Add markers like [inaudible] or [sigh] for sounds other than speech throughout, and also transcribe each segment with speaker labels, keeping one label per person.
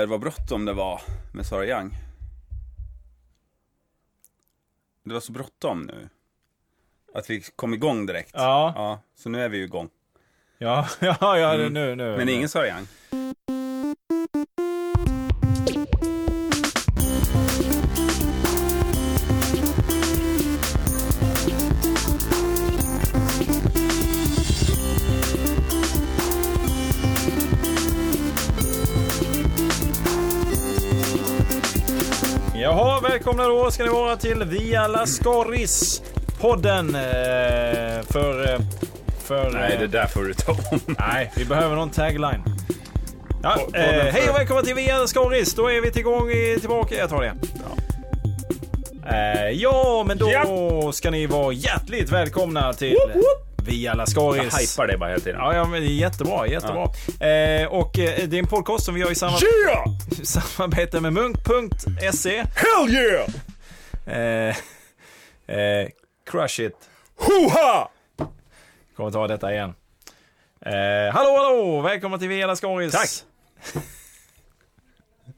Speaker 1: eh, Vad bråttom det var med Sara Young. Det var så bråttom nu. Att vi kom igång direkt.
Speaker 2: Ja.
Speaker 1: ja så nu är vi ju igång.
Speaker 2: Ja, [laughs] ja, ja
Speaker 1: Mm.
Speaker 2: nu, nu.
Speaker 1: Men ingen Sara Young.
Speaker 2: Jaha, välkomna då ska ni vara till Via Lascaris podden eh, för... eh, för
Speaker 1: Nej,
Speaker 2: eh,
Speaker 1: det där får du ta om.
Speaker 2: nej, vi behöver någon tagline. Ja,
Speaker 1: På- podden
Speaker 2: eh, hej
Speaker 1: för-
Speaker 2: och välkomna till Via Lascaris. Då är vi tillgång i, tillbaka. Jag tar det. Eh, ja, men då ska ni vara hjärtligt välkomna till Via
Speaker 1: Jag
Speaker 2: Lascaris.
Speaker 1: hajpar det bara hela tiden.
Speaker 2: Ja, ja, men det är jättebra, jättebra. Eh, och eh, det är en podcast som vi gör i samarbete
Speaker 1: Yeah!
Speaker 2: samarbete med munk.se.
Speaker 1: Hell yeah!
Speaker 2: Eh, eh, crush it.
Speaker 1: Hoha!
Speaker 2: Kommer ta detta igen. Eh, hallå, hallå! Välkomna till Via Lascaris.
Speaker 1: Tack.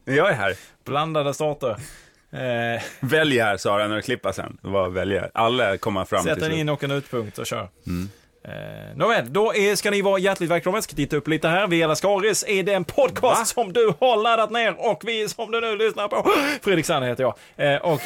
Speaker 1: Jag är här.
Speaker 2: Blandade starter. Eh,
Speaker 1: Välj här Sara när du klipper sen. Vad väljer? Alla kommer fram
Speaker 2: sätt
Speaker 1: till
Speaker 2: en
Speaker 1: slut. Mm.
Speaker 2: in och en utpunkt och kör. Eh, Nåväl, då är, ska ni vara hjärtligt välkomna. Jag ska titta upp lite här. Via Lascaris är det en podcast
Speaker 1: Va?
Speaker 2: som du har laddat ner och vi som du nu lyssnar på. Fredrik Sand heter jag. Eh, och,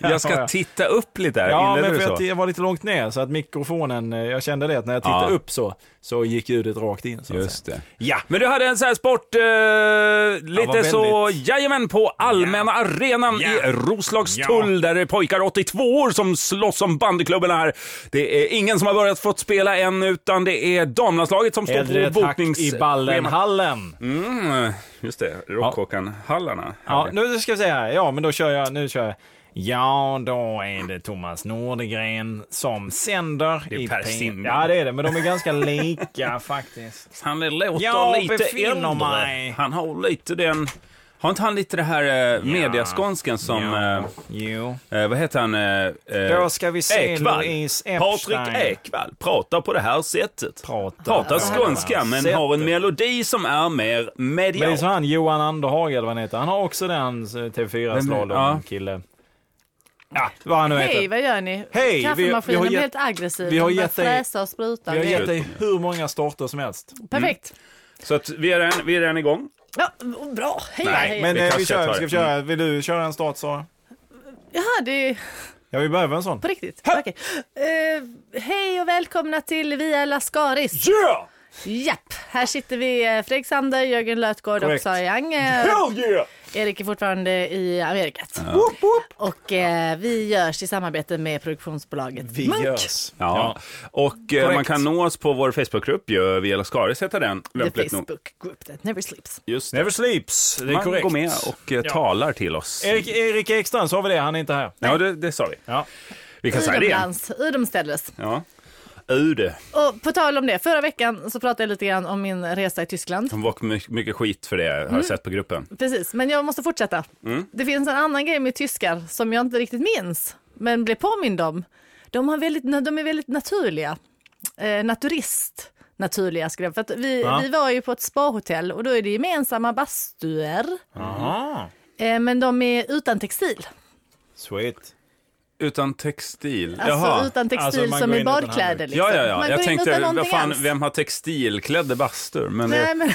Speaker 1: Jag
Speaker 2: [laughs]
Speaker 1: ska titta upp lite här.
Speaker 2: Ja,
Speaker 1: Inledde
Speaker 2: men
Speaker 1: du
Speaker 2: för
Speaker 1: så?
Speaker 2: att jag var lite långt ner så att mikrofonen, eh, jag kände det att när jag tittade
Speaker 1: Ja.
Speaker 2: upp så, så gick ljudet rakt in. Så att säga.
Speaker 1: Just det. Ja, men du hade en sån här sport, eh, lite
Speaker 2: väldigt.
Speaker 1: så, jajamän, på allmänna arenan
Speaker 2: Ja.
Speaker 1: i Roslagstull där det är pojkar 82 år som slåss om bandyklubborna här. Det är ingen som har börjat fått spela än, utan det är damlandslaget som står
Speaker 2: Hellre
Speaker 1: på
Speaker 2: tack
Speaker 1: boknings...
Speaker 2: i Ballen-hallen.
Speaker 1: Mm, just det, Rockhåkan-hallarna.
Speaker 2: Ja, nu ska vi se här. Ja, men då kör jag. Nu kör jag. Ja, då är det Thomas Nordegren som sänder.
Speaker 1: Det är
Speaker 2: i
Speaker 1: Per
Speaker 2: P-
Speaker 1: Simon.
Speaker 2: Ja, det är det. Men de är ganska lika [laughs] faktiskt.
Speaker 1: Han låter
Speaker 2: Jag
Speaker 1: lite
Speaker 2: befinner
Speaker 1: äldre.
Speaker 2: mig.
Speaker 1: Han har lite den... Har inte han lite det här eh, mediaskånsken som...
Speaker 2: ja. Jo.
Speaker 1: Eh, eh, vad heter han? Eh, eh,
Speaker 2: Då ska vi se
Speaker 1: Ekvall.
Speaker 2: Louise Epstein.
Speaker 1: Patrik Ekvall pratar på det här sättet.
Speaker 2: Pratar
Speaker 1: pratar
Speaker 2: på det här
Speaker 1: skånska men
Speaker 2: sättet.
Speaker 1: har en melodi som är mer
Speaker 2: Men det
Speaker 1: medial.
Speaker 2: är så han Johan Anderhage eller vad han heter. Han har också den eh,
Speaker 1: Vem-
Speaker 2: TV4-slalom-kille. Ja, vad han nu
Speaker 3: Hej,
Speaker 2: heter.
Speaker 3: vad gör ni?
Speaker 2: Hej, vi- vi
Speaker 3: Kaffemaskinen
Speaker 2: har
Speaker 3: blir
Speaker 2: gett-
Speaker 3: helt aggressiv.
Speaker 2: vi har
Speaker 3: Den börjar
Speaker 2: gett dig-
Speaker 3: fräsa och spruta.
Speaker 2: Vi har
Speaker 3: Det är-
Speaker 2: gett dig hur många starter som helst.
Speaker 3: Perfekt.
Speaker 1: Så att vi, är redan, vi är redan igång.
Speaker 3: Ja, bra, hej
Speaker 1: Nej,
Speaker 3: hej.
Speaker 2: Men
Speaker 1: Vi
Speaker 2: eh,
Speaker 1: kanske
Speaker 2: vi kör,
Speaker 1: tar
Speaker 2: ska vi
Speaker 1: det.
Speaker 2: köra, vill du köra en start Sara?
Speaker 3: Jaha, det är
Speaker 2: Ja, vi behöver en sån.
Speaker 3: på riktigt. Okej. Eh, hej och välkomna till Via Lascaris.
Speaker 2: Yeah!
Speaker 3: Japp, här sitter vi eh, Fredrik Sander, Jörgen Lötgård och
Speaker 2: Korrekt.
Speaker 3: Sara Young. Eh,
Speaker 2: Hell yeah!
Speaker 3: Erik är fortfarande i Amerika.
Speaker 2: Woop, woop.
Speaker 3: Och eh, vi görs i samarbete med produktionsbolaget
Speaker 2: Vi
Speaker 3: Munk.
Speaker 2: görs.
Speaker 1: Ja. Och eh,
Speaker 2: Korrekt.
Speaker 1: man kan nå oss på vår Facebookgrupp, ju, Via Lascaris heter den.
Speaker 3: The
Speaker 1: Lämpligt nog.
Speaker 3: Facebook group that never sleeps.
Speaker 1: Just det.
Speaker 2: Never sleeps, det är
Speaker 1: Man
Speaker 2: korrekt.
Speaker 1: går med och eh, talar till oss.
Speaker 2: Erik, Erik Ekstrand, så har vi det, han är inte här.
Speaker 1: Ja, det, det sa vi.
Speaker 2: Ja.
Speaker 1: Vi kan säga det igen.
Speaker 3: Utomlands, utomstädes.
Speaker 1: Ja. Ude,
Speaker 3: Och på tal om det, förra veckan så pratade jag lite grann om min resa i Tyskland.
Speaker 1: de var my- mycket skit för det, har jag
Speaker 2: Mm.
Speaker 1: sett på gruppen.
Speaker 3: Precis, men jag måste fortsätta.
Speaker 1: Mm.
Speaker 3: Det finns en annan grej med tyskar som jag inte riktigt minns, men blev påmind om. De, har väldigt, de är väldigt naturliga. Eh, naturist naturliga skulle jag, för att vi,
Speaker 2: Ja.
Speaker 3: vi var ju på ett spahotell och då är det gemensamma bastuer,
Speaker 2: Aha.
Speaker 3: eh, men de är utan textil.
Speaker 2: Sweet.
Speaker 1: Utan textil.
Speaker 3: Alltså utan textil
Speaker 2: Alltså, man
Speaker 3: som
Speaker 2: går
Speaker 3: i
Speaker 2: in utan
Speaker 3: badkläder.
Speaker 2: handduk.
Speaker 3: Liksom.
Speaker 1: Ja, ja, ja.
Speaker 3: Man
Speaker 1: Jag
Speaker 3: går in utan
Speaker 1: tänkte, vad
Speaker 3: någonting
Speaker 1: fan,
Speaker 3: alls.
Speaker 1: vem har textilklädde bastur? Men det,
Speaker 3: Nej, men...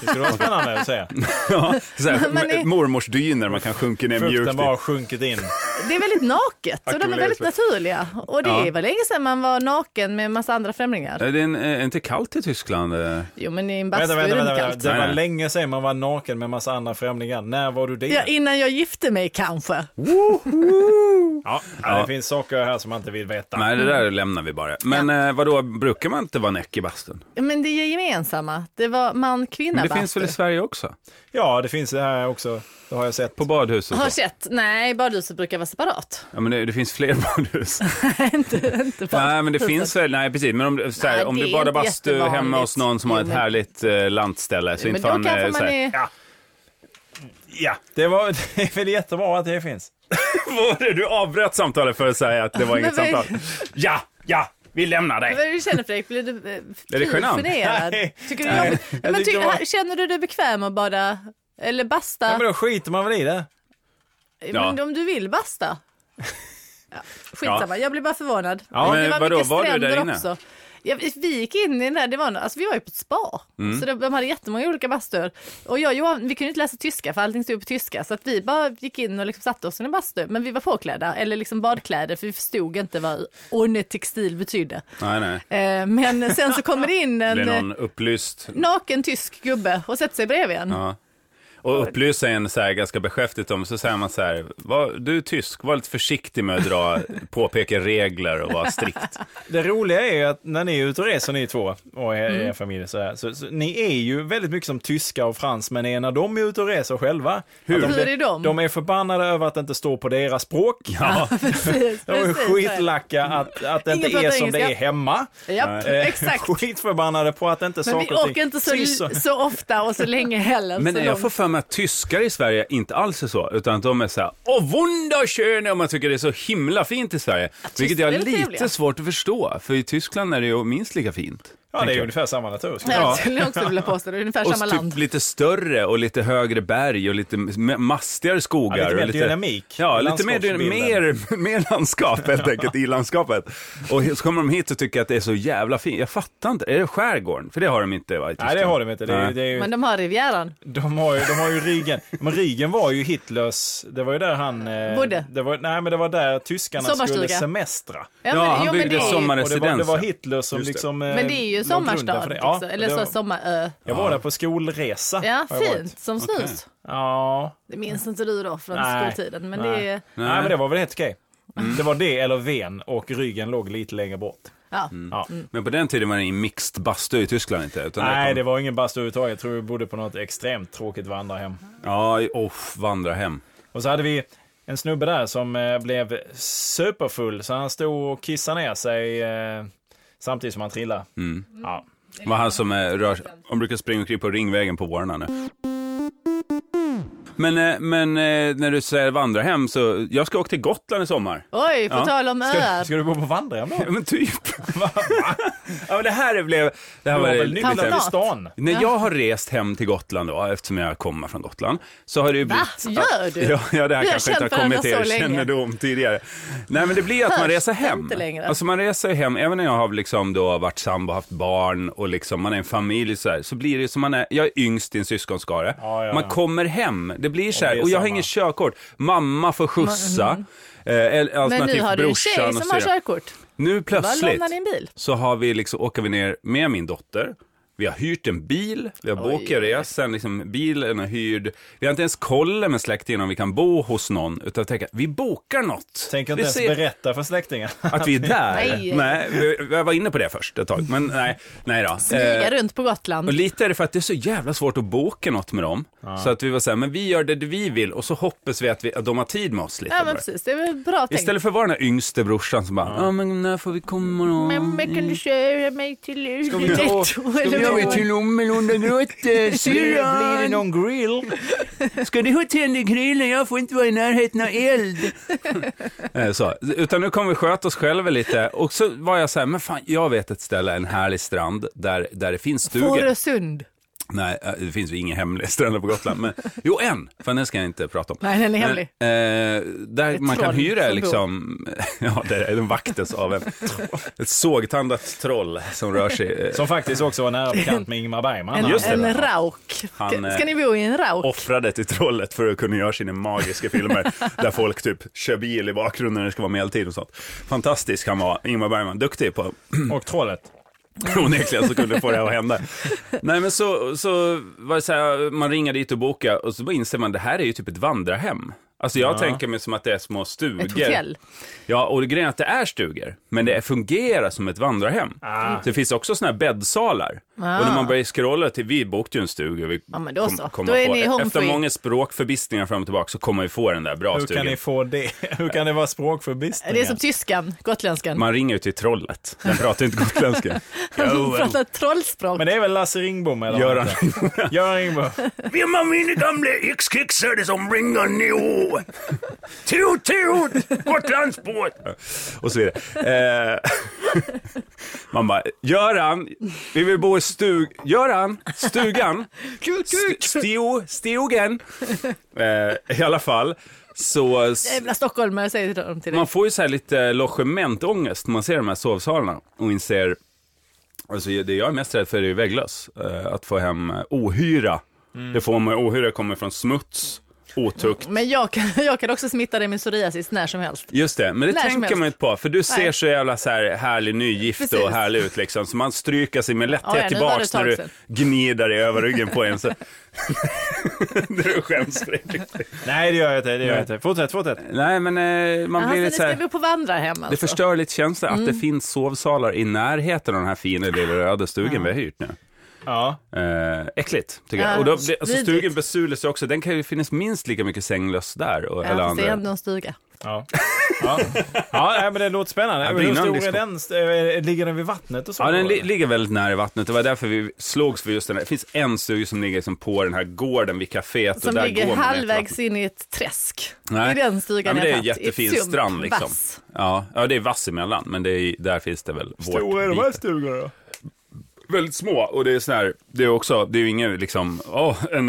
Speaker 2: Det skulle vara spännande att se.
Speaker 1: [laughs] Ja,
Speaker 3: [laughs]
Speaker 1: såhär,
Speaker 3: Man är-
Speaker 1: mormors dyner man kan sjunka ner mjukt
Speaker 2: Frukten bara
Speaker 1: i.
Speaker 2: har sjunkit in.
Speaker 3: Det är väldigt naket och de är
Speaker 1: Ackumulerat
Speaker 3: väldigt
Speaker 1: svett.
Speaker 3: naturliga. Och det
Speaker 1: Ja. Eh,
Speaker 3: var länge sedan man var naken med en massa andra främlingar.
Speaker 1: Är det en, är inte kallt i Tyskland? eh?
Speaker 3: Jo men i en
Speaker 2: Vänta,
Speaker 3: bastu är
Speaker 2: vänta,
Speaker 3: det
Speaker 2: vänta,
Speaker 3: inte
Speaker 2: vänta.
Speaker 3: kallt.
Speaker 2: Det
Speaker 1: Nej,
Speaker 2: var
Speaker 1: nej.
Speaker 2: länge sedan man var naken med massa andra främlingar. När var du det?
Speaker 3: Ja,
Speaker 2: Ja,
Speaker 3: innan jag gifte mig kanske.
Speaker 2: ja,
Speaker 1: Ja.
Speaker 2: Det finns saker här som man inte vill veta.
Speaker 1: Nej, det där lämnar vi bara. Men eh, vadå, brukar man inte vara näck i bastun?
Speaker 3: Men det är gemensamma. Det var man kvinna
Speaker 1: Men det finns väl i Sverige också?
Speaker 2: Ja, det finns det här också. Det har jag sett.
Speaker 1: På badhus och
Speaker 3: Har
Speaker 1: så?
Speaker 3: sett? Nej, badhuset brukar vara separat. [laughs]
Speaker 1: Ja, men det, det finns fler [laughs] badhus.
Speaker 3: inte, inte badhuset.
Speaker 1: nej, men det finns väl, nej precis, men om, såhär,
Speaker 3: Nej,
Speaker 1: om
Speaker 3: det
Speaker 1: du
Speaker 3: är
Speaker 1: badar
Speaker 3: inte
Speaker 1: bastu hemma
Speaker 3: jättevanligt.
Speaker 1: hos någon som har
Speaker 3: Jo,
Speaker 1: ett
Speaker 3: men-
Speaker 1: härligt eh, lantställe, så
Speaker 3: Men
Speaker 1: inte
Speaker 3: då
Speaker 1: fan...
Speaker 3: kanske
Speaker 1: eh,
Speaker 3: man
Speaker 1: såhär-
Speaker 3: är...
Speaker 2: Ja, det, var, [laughs] det är väl jättebra att det finns.
Speaker 1: Vad var det? Du avbröt samtalet för att säga att det var inget
Speaker 3: [laughs] Men vad är-
Speaker 1: samtal. Ja, ja, vi lämnar
Speaker 3: Vad
Speaker 1: dig.
Speaker 3: är det du känner Fredrik? Blir du eh,
Speaker 1: Är det genant?
Speaker 3: generad?
Speaker 2: Nej.
Speaker 3: Tycker du
Speaker 2: Nej.
Speaker 3: jobbigt?
Speaker 2: Jag
Speaker 3: Men
Speaker 2: tyckte
Speaker 3: ty-
Speaker 2: det var-
Speaker 3: Känner du dig bekväm att bada Eller basta.
Speaker 2: Ja, men då skiter man väl i det.
Speaker 1: Ja.
Speaker 3: Men om du vill
Speaker 1: [laughs]
Speaker 3: basta. Ja, skitsamma, jag blev bara förvånad.
Speaker 1: Ja, men vadå,
Speaker 3: mycket
Speaker 1: var du
Speaker 3: stränder
Speaker 1: där inne?
Speaker 3: Ja, vi- vi gick in i den där, det var, nå- alltså, vi var ju på ett spa.
Speaker 1: Mm.
Speaker 3: Så det, de hade jättemånga olika bastuer. Och jag och Johan, vi kunde inte läsa tyska för allting stod på tyska. Så att vi bara gick in och liksom satte oss i en bastu. Men vi var påklädda, eller liksom badkläder, för vi förstod inte vad ornet textil betydde.
Speaker 1: Nej, nej.
Speaker 3: Eh, men sen så kommer det
Speaker 1: [laughs]
Speaker 3: in
Speaker 1: Det
Speaker 3: en
Speaker 1: blir
Speaker 3: eh,
Speaker 1: någon upplyst.
Speaker 3: naken tysk gubbe och sätter sig bredvid en. [laughs]
Speaker 1: Ja. Och upplysa en så här ganska beskäftigt om, så säger man så här, var, du är tysk, var lite försiktig med att
Speaker 3: [laughs]
Speaker 1: dra, påpeka regler och vara strikt.
Speaker 2: Det roliga är ju att när ni är ute och reser ni två och er,
Speaker 3: Mm.
Speaker 2: er familj så, här, så, så ni är ju väldigt mycket som tyskar och fransmän är när de är ute och reser själva. Hur? De,
Speaker 3: Hur är de?
Speaker 2: De är förbannade över att det inte står på deras språk.
Speaker 1: Ja,
Speaker 3: [laughs] Precis,
Speaker 2: De är
Speaker 3: precis så är det.
Speaker 2: skitlacka att, att det
Speaker 3: Ingen
Speaker 2: inte är
Speaker 3: pratar
Speaker 2: som det är
Speaker 3: engelska.
Speaker 2: hemma.
Speaker 3: Japp,
Speaker 2: Eh, [laughs]
Speaker 3: exakt.
Speaker 2: Skitförbannade på att inte
Speaker 3: Men vi
Speaker 2: saker och ting...
Speaker 3: åker inte
Speaker 2: Precis
Speaker 3: så, så ofta och så länge heller.
Speaker 1: Men
Speaker 3: så
Speaker 1: jag får
Speaker 3: [laughs] långt.
Speaker 1: för mig att tyskar i Sverige inte alls är så, utan att de är så här, åh wunderschön, och man tycker det är så himla fint i Sverige. Vilket jag
Speaker 3: är
Speaker 1: har
Speaker 3: väl
Speaker 1: lite
Speaker 3: trevliga.
Speaker 1: svårt att förstå, för i Tyskland är det ju minst lika fint.
Speaker 2: Ja, det är ungefär samma natur.
Speaker 3: Nej, Jag skulle också vilja påstå det, är ungefär
Speaker 1: Och
Speaker 3: samma land.
Speaker 1: typ lite större och lite högre berg och lite m- mastigare skogar.
Speaker 2: Ja, lite mer
Speaker 1: och
Speaker 2: dynamik
Speaker 1: Ja,
Speaker 2: i
Speaker 1: lite mer, dy- mer, mer landskap helt enkelt i landskapet. Och så kommer de hit och tycker att det är så jävla fint. Jag fattar inte, är det skärgården? För det har de inte va, i
Speaker 2: Nej, det
Speaker 1: Tyskland.
Speaker 2: har de inte. Det är,
Speaker 1: Nej.
Speaker 2: ju- det är ju,
Speaker 3: Men de har Rivieran.
Speaker 2: de, har ju, de har ju Rigen. Men Rigen var ju Hitlers... Det var ju där han... eh,
Speaker 3: Bodde.
Speaker 2: Det var, nej, men det var där tyskarna skulle
Speaker 3: Sommarstuga.
Speaker 2: semestra.
Speaker 1: Ja, han
Speaker 3: jo, men
Speaker 1: byggde
Speaker 3: det är ju-
Speaker 1: sommar-
Speaker 2: Och det, var, det var
Speaker 1: Residensen.
Speaker 2: Hitler som
Speaker 1: Just det.
Speaker 2: liksom...
Speaker 3: Men det är ju sommarstad, också, eller så sommarö.
Speaker 2: Jag var där på skolresa.
Speaker 3: Ja,
Speaker 2: har jag varit.
Speaker 3: fint, som snus.
Speaker 2: Ja.
Speaker 3: Det minns inte du då från
Speaker 2: Nej.
Speaker 3: skoltiden, men
Speaker 2: nej.
Speaker 3: det är...
Speaker 2: Nej. men det var väl helt okej.
Speaker 1: Mm.
Speaker 2: Det var det eller Ven och ryggen låg lite längre bort.
Speaker 3: Ja.
Speaker 1: Mm.
Speaker 2: Ja.
Speaker 3: Mm.
Speaker 1: Men på den tiden var det ingen mixed bastu i Tyskland inte. Utan där
Speaker 2: Nej,
Speaker 1: kom-
Speaker 2: det var ingen bastu överhuvudtaget. Jag tror vi bodde på något extremt tråkigt vandrarhem.
Speaker 1: Ja, i- oh, vandra hem.
Speaker 2: Och så hade vi en snubbe där som eh, blev superfull, så han stod och kissade ner sig eh, samtidigt som han trillade. Ja.
Speaker 1: var han som eh, rör Han brukar springa omkring på Ringvägen på vårarna nu. Men, eh, men eh, när du säger vandra hem så, jag ska åka till Gotland i sommar.
Speaker 3: Oj, på
Speaker 1: Ja.
Speaker 3: tal om öar.
Speaker 2: Ska, ska du gå på vandrarhem då? [laughs]
Speaker 1: Ja, men typ. [laughs] ja, men det här blev... Det här
Speaker 2: Det
Speaker 1: var,
Speaker 2: var
Speaker 1: var
Speaker 2: väl
Speaker 1: lite...
Speaker 2: nytt i
Speaker 3: Tantat.
Speaker 2: stan?
Speaker 1: När jag har rest hem till Gotland då, eftersom jag kommer från Gotland, så har det ju
Speaker 3: Va?
Speaker 1: blivit...
Speaker 3: Gör du?
Speaker 1: Ja, ja det här
Speaker 3: Vi har
Speaker 1: kanske inte har
Speaker 3: känt varandra
Speaker 1: kommit till er
Speaker 3: så länge.
Speaker 1: kännedom tidigare. Nej, men det blir att man
Speaker 3: Hörs
Speaker 1: reser hem.
Speaker 3: inte längre.
Speaker 1: Alltså man reser hem, även när jag har liksom då varit sambo, haft barn och liksom man är en familj så här, så blir det som man är, jag är yngst i en syskonskara.
Speaker 2: Ja, ja,
Speaker 1: Man
Speaker 2: ja.
Speaker 1: kommer hem, det blir så här,
Speaker 2: det är
Speaker 1: och jag har
Speaker 2: samma.
Speaker 1: inget körkort. Mamma får skjutsa, eh, eller
Speaker 3: Mm. Men nu har
Speaker 1: alternativt
Speaker 3: du en
Speaker 1: brorsan
Speaker 3: tjej
Speaker 1: och
Speaker 3: som har
Speaker 1: syrran.
Speaker 3: körkort.
Speaker 1: Nu
Speaker 3: Bara
Speaker 1: plötsligt
Speaker 3: låna din bil.
Speaker 1: så har vi liksom, åker vi ner med min dotter. Vi har hyrt en bil, vi har bokat sen liksom bilen är hyrd. Vi har inte ens kollat med släkten om vi kan bo hos någon, utan vi tänker vi bokar något.
Speaker 2: Tänker
Speaker 1: vi
Speaker 2: inte ens berätta för [laughs] släktingen.
Speaker 1: att vi är där.
Speaker 3: Nej.
Speaker 1: vi, jag var inne på det först ett tag, men nej, nej då.
Speaker 3: Smyga
Speaker 1: Eh,
Speaker 3: runt på Gotland.
Speaker 1: och lite är det för att det är så jävla svårt att boka något med dem. Så att vi var så här, men vi gör det vi vill och så hoppas vi att, vi, att de har tid med oss lite.
Speaker 3: Ja,
Speaker 1: bara.
Speaker 3: men precis. Det är väl bra tänkt.
Speaker 1: Istället för att vara den här yngste brorsan som bara, ja men när får vi komma då?
Speaker 3: Men, men
Speaker 1: Mm.
Speaker 3: kan du köra mig till
Speaker 2: ta-
Speaker 3: Luleå?
Speaker 2: ska
Speaker 3: [laughs] Eller
Speaker 1: Jag
Speaker 3: vad?
Speaker 1: vill till
Speaker 3: [laughs]
Speaker 1: Lommelundagröt,
Speaker 2: Blir det
Speaker 1: syrran!
Speaker 2: någon grill?
Speaker 1: eh, Ska du ha tändgrillen? Jag får inte vara i närheten av eld. [laughs] Eh, så. Utan nu kommer vi sköta oss själva lite. Och så var jag så här, men fan, jag vet ett ställe, en härlig strand, där, där det finns stugor.
Speaker 3: Fårösund.
Speaker 1: Nej, eh, det finns ju inga hemliga stränder på Gotland. Men, jo, en, för den ska jag inte prata om.
Speaker 3: Nej, den är hemlig.
Speaker 1: Men, eh, där man kan
Speaker 3: troll
Speaker 1: hyra
Speaker 3: som bor.
Speaker 1: liksom, [laughs] ja, det är den vaktas av
Speaker 3: [laughs]
Speaker 1: en, ett sågtandat troll som rör sig. eh,
Speaker 2: Som faktiskt också var nära bekant med Ingmar Bergman.
Speaker 3: En,
Speaker 2: Han-
Speaker 1: just det.
Speaker 3: en rauk.
Speaker 1: Han,
Speaker 3: ska,
Speaker 1: eh,
Speaker 3: ska ni bo i en rauk?
Speaker 1: offrade till trollet för att kunna göra sina magiska
Speaker 3: [laughs]
Speaker 1: filmer där folk typ kör bil i bakgrunden när det ska vara medeltid och sånt. Fantastisk han var, Ingmar Bergman, duktig på [laughs]
Speaker 2: Och trollet.
Speaker 1: onekligen så kunde få det här att hända. Nej men så, så var det så här, man ringer dit och bokar och så bara inser man det här är ju typ ett vandrarhem. Alltså jag tänker mig som att det är små stugor.
Speaker 3: Ett hotell.
Speaker 1: Ja, och grejen är att det är stugor, men det fungerar som ett vandrarhem.
Speaker 2: Ah.
Speaker 1: Så det finns också såna här bäddsalar. Och när man börjar scrolla till, vi bokade ju en stuga. Vi
Speaker 3: Ah. Ja, men då så.
Speaker 1: kommer
Speaker 3: Då är
Speaker 1: få-
Speaker 3: ni home
Speaker 1: Efter
Speaker 3: free.
Speaker 1: många språkförbistningar fram och tillbaka så kommer vi få den där bra
Speaker 2: Hur kan
Speaker 1: stugan.
Speaker 2: ni få det? [laughs] Hur kan det vara språkförbistringar?
Speaker 3: Det är som tyskan, gotländskan. [laughs]
Speaker 1: Man ringer ju till trollet, den pratar ju inte gotländska.
Speaker 3: Han
Speaker 1: Joel.
Speaker 3: pratar trollspråk.
Speaker 2: Men det är väl Lasse Ringblom eller?
Speaker 1: Göran
Speaker 2: Göran Ringblom.
Speaker 1: Vem av mina gamla yxkexare som ringer nu? Tjo! Tjo, tjo! Gotlandsbåt! Och så vidare. Eh, [laughs] man bara, Göran, vi vill bo i stug... Göran, stugan,
Speaker 3: Kuk,
Speaker 1: st- stio, stiogen. Eh, I alla fall, så... s-
Speaker 3: Jävla stockholmare säger de till dig.
Speaker 1: Man får ju så här lite logementångest när man ser de här sovsalarna och inser, alltså det jag är mest rädd för är ju vägglöss, eh, att få hem eh, ohyra.
Speaker 3: Mm.
Speaker 1: Det får man, ohyra kommer från smuts, otukt.
Speaker 3: Men jag kan, [laughs] jag kan också smitta dig med psoriasis när som helst.
Speaker 1: Just det, men det
Speaker 3: När som
Speaker 1: tänker
Speaker 3: helst.
Speaker 1: man inte på, för du ser
Speaker 3: Nej.
Speaker 1: så jävla så här härlig nygift och
Speaker 3: Precis.
Speaker 1: härlig ut liksom, så man stryker sig med lätthet
Speaker 3: Ja, ja, nu var
Speaker 1: tillbaks
Speaker 3: det ett tag
Speaker 1: när du
Speaker 3: sedan.
Speaker 1: gnider dig över ryggen på
Speaker 3: [laughs]
Speaker 1: en. Så... [laughs] när du skäms för det.
Speaker 2: [laughs] Nej, det gör jag inte. Det gör jag inte. Fortsätt, fortsätt.
Speaker 1: Nej, men eh, man
Speaker 3: Alltså,
Speaker 1: blir
Speaker 3: nu
Speaker 1: lite så
Speaker 3: ska
Speaker 1: här...
Speaker 3: vi på vandrarhem
Speaker 1: Det
Speaker 3: alltså. Mm.
Speaker 1: förstör lite känslan att det finns sovsalar i närheten av den här fina lilla röda stugan vi har hyrt nu.
Speaker 2: Ja.
Speaker 1: Eh, äckligt, tycker
Speaker 3: Ja,
Speaker 1: jag. Och då, blir- alltså,
Speaker 3: vidrigt.
Speaker 1: stugan besudlas ju också. Den kan ju finnas minst lika mycket sänglöss där. Och,
Speaker 3: Ja,
Speaker 1: eller
Speaker 3: fast det är
Speaker 1: andra.
Speaker 3: ändå en stuga.
Speaker 2: Ja. Ja. ja, nej, men det låter spännande.
Speaker 1: Ja,
Speaker 2: Hur
Speaker 1: brinnande
Speaker 2: stor är den? Eh, Ligger den vid vattnet och så?
Speaker 1: Ja, den li- ligger väldigt nära vattnet. Det var därför vi slogs för just den här. Det finns en stuga som ligger liksom på den här gården vid kaféet. och
Speaker 3: Som
Speaker 1: där
Speaker 3: ligger
Speaker 1: går man ner till
Speaker 3: halvvägs
Speaker 1: vattnet.
Speaker 3: in i ett träsk.
Speaker 1: Nej.
Speaker 3: Det är den stugan
Speaker 1: ja, men Det
Speaker 3: jag
Speaker 1: är
Speaker 3: har
Speaker 1: en
Speaker 3: tagit. I
Speaker 1: jättefin
Speaker 3: sump,
Speaker 1: strand liksom.
Speaker 3: vass.
Speaker 1: Ja, ja, det är vass emellan, men det är, där finns det väl vårt
Speaker 2: Stora är de
Speaker 1: lite.
Speaker 2: här stugorna då?
Speaker 1: väldigt små och det är sån här, det är också, det är ju ingen liksom, ja, en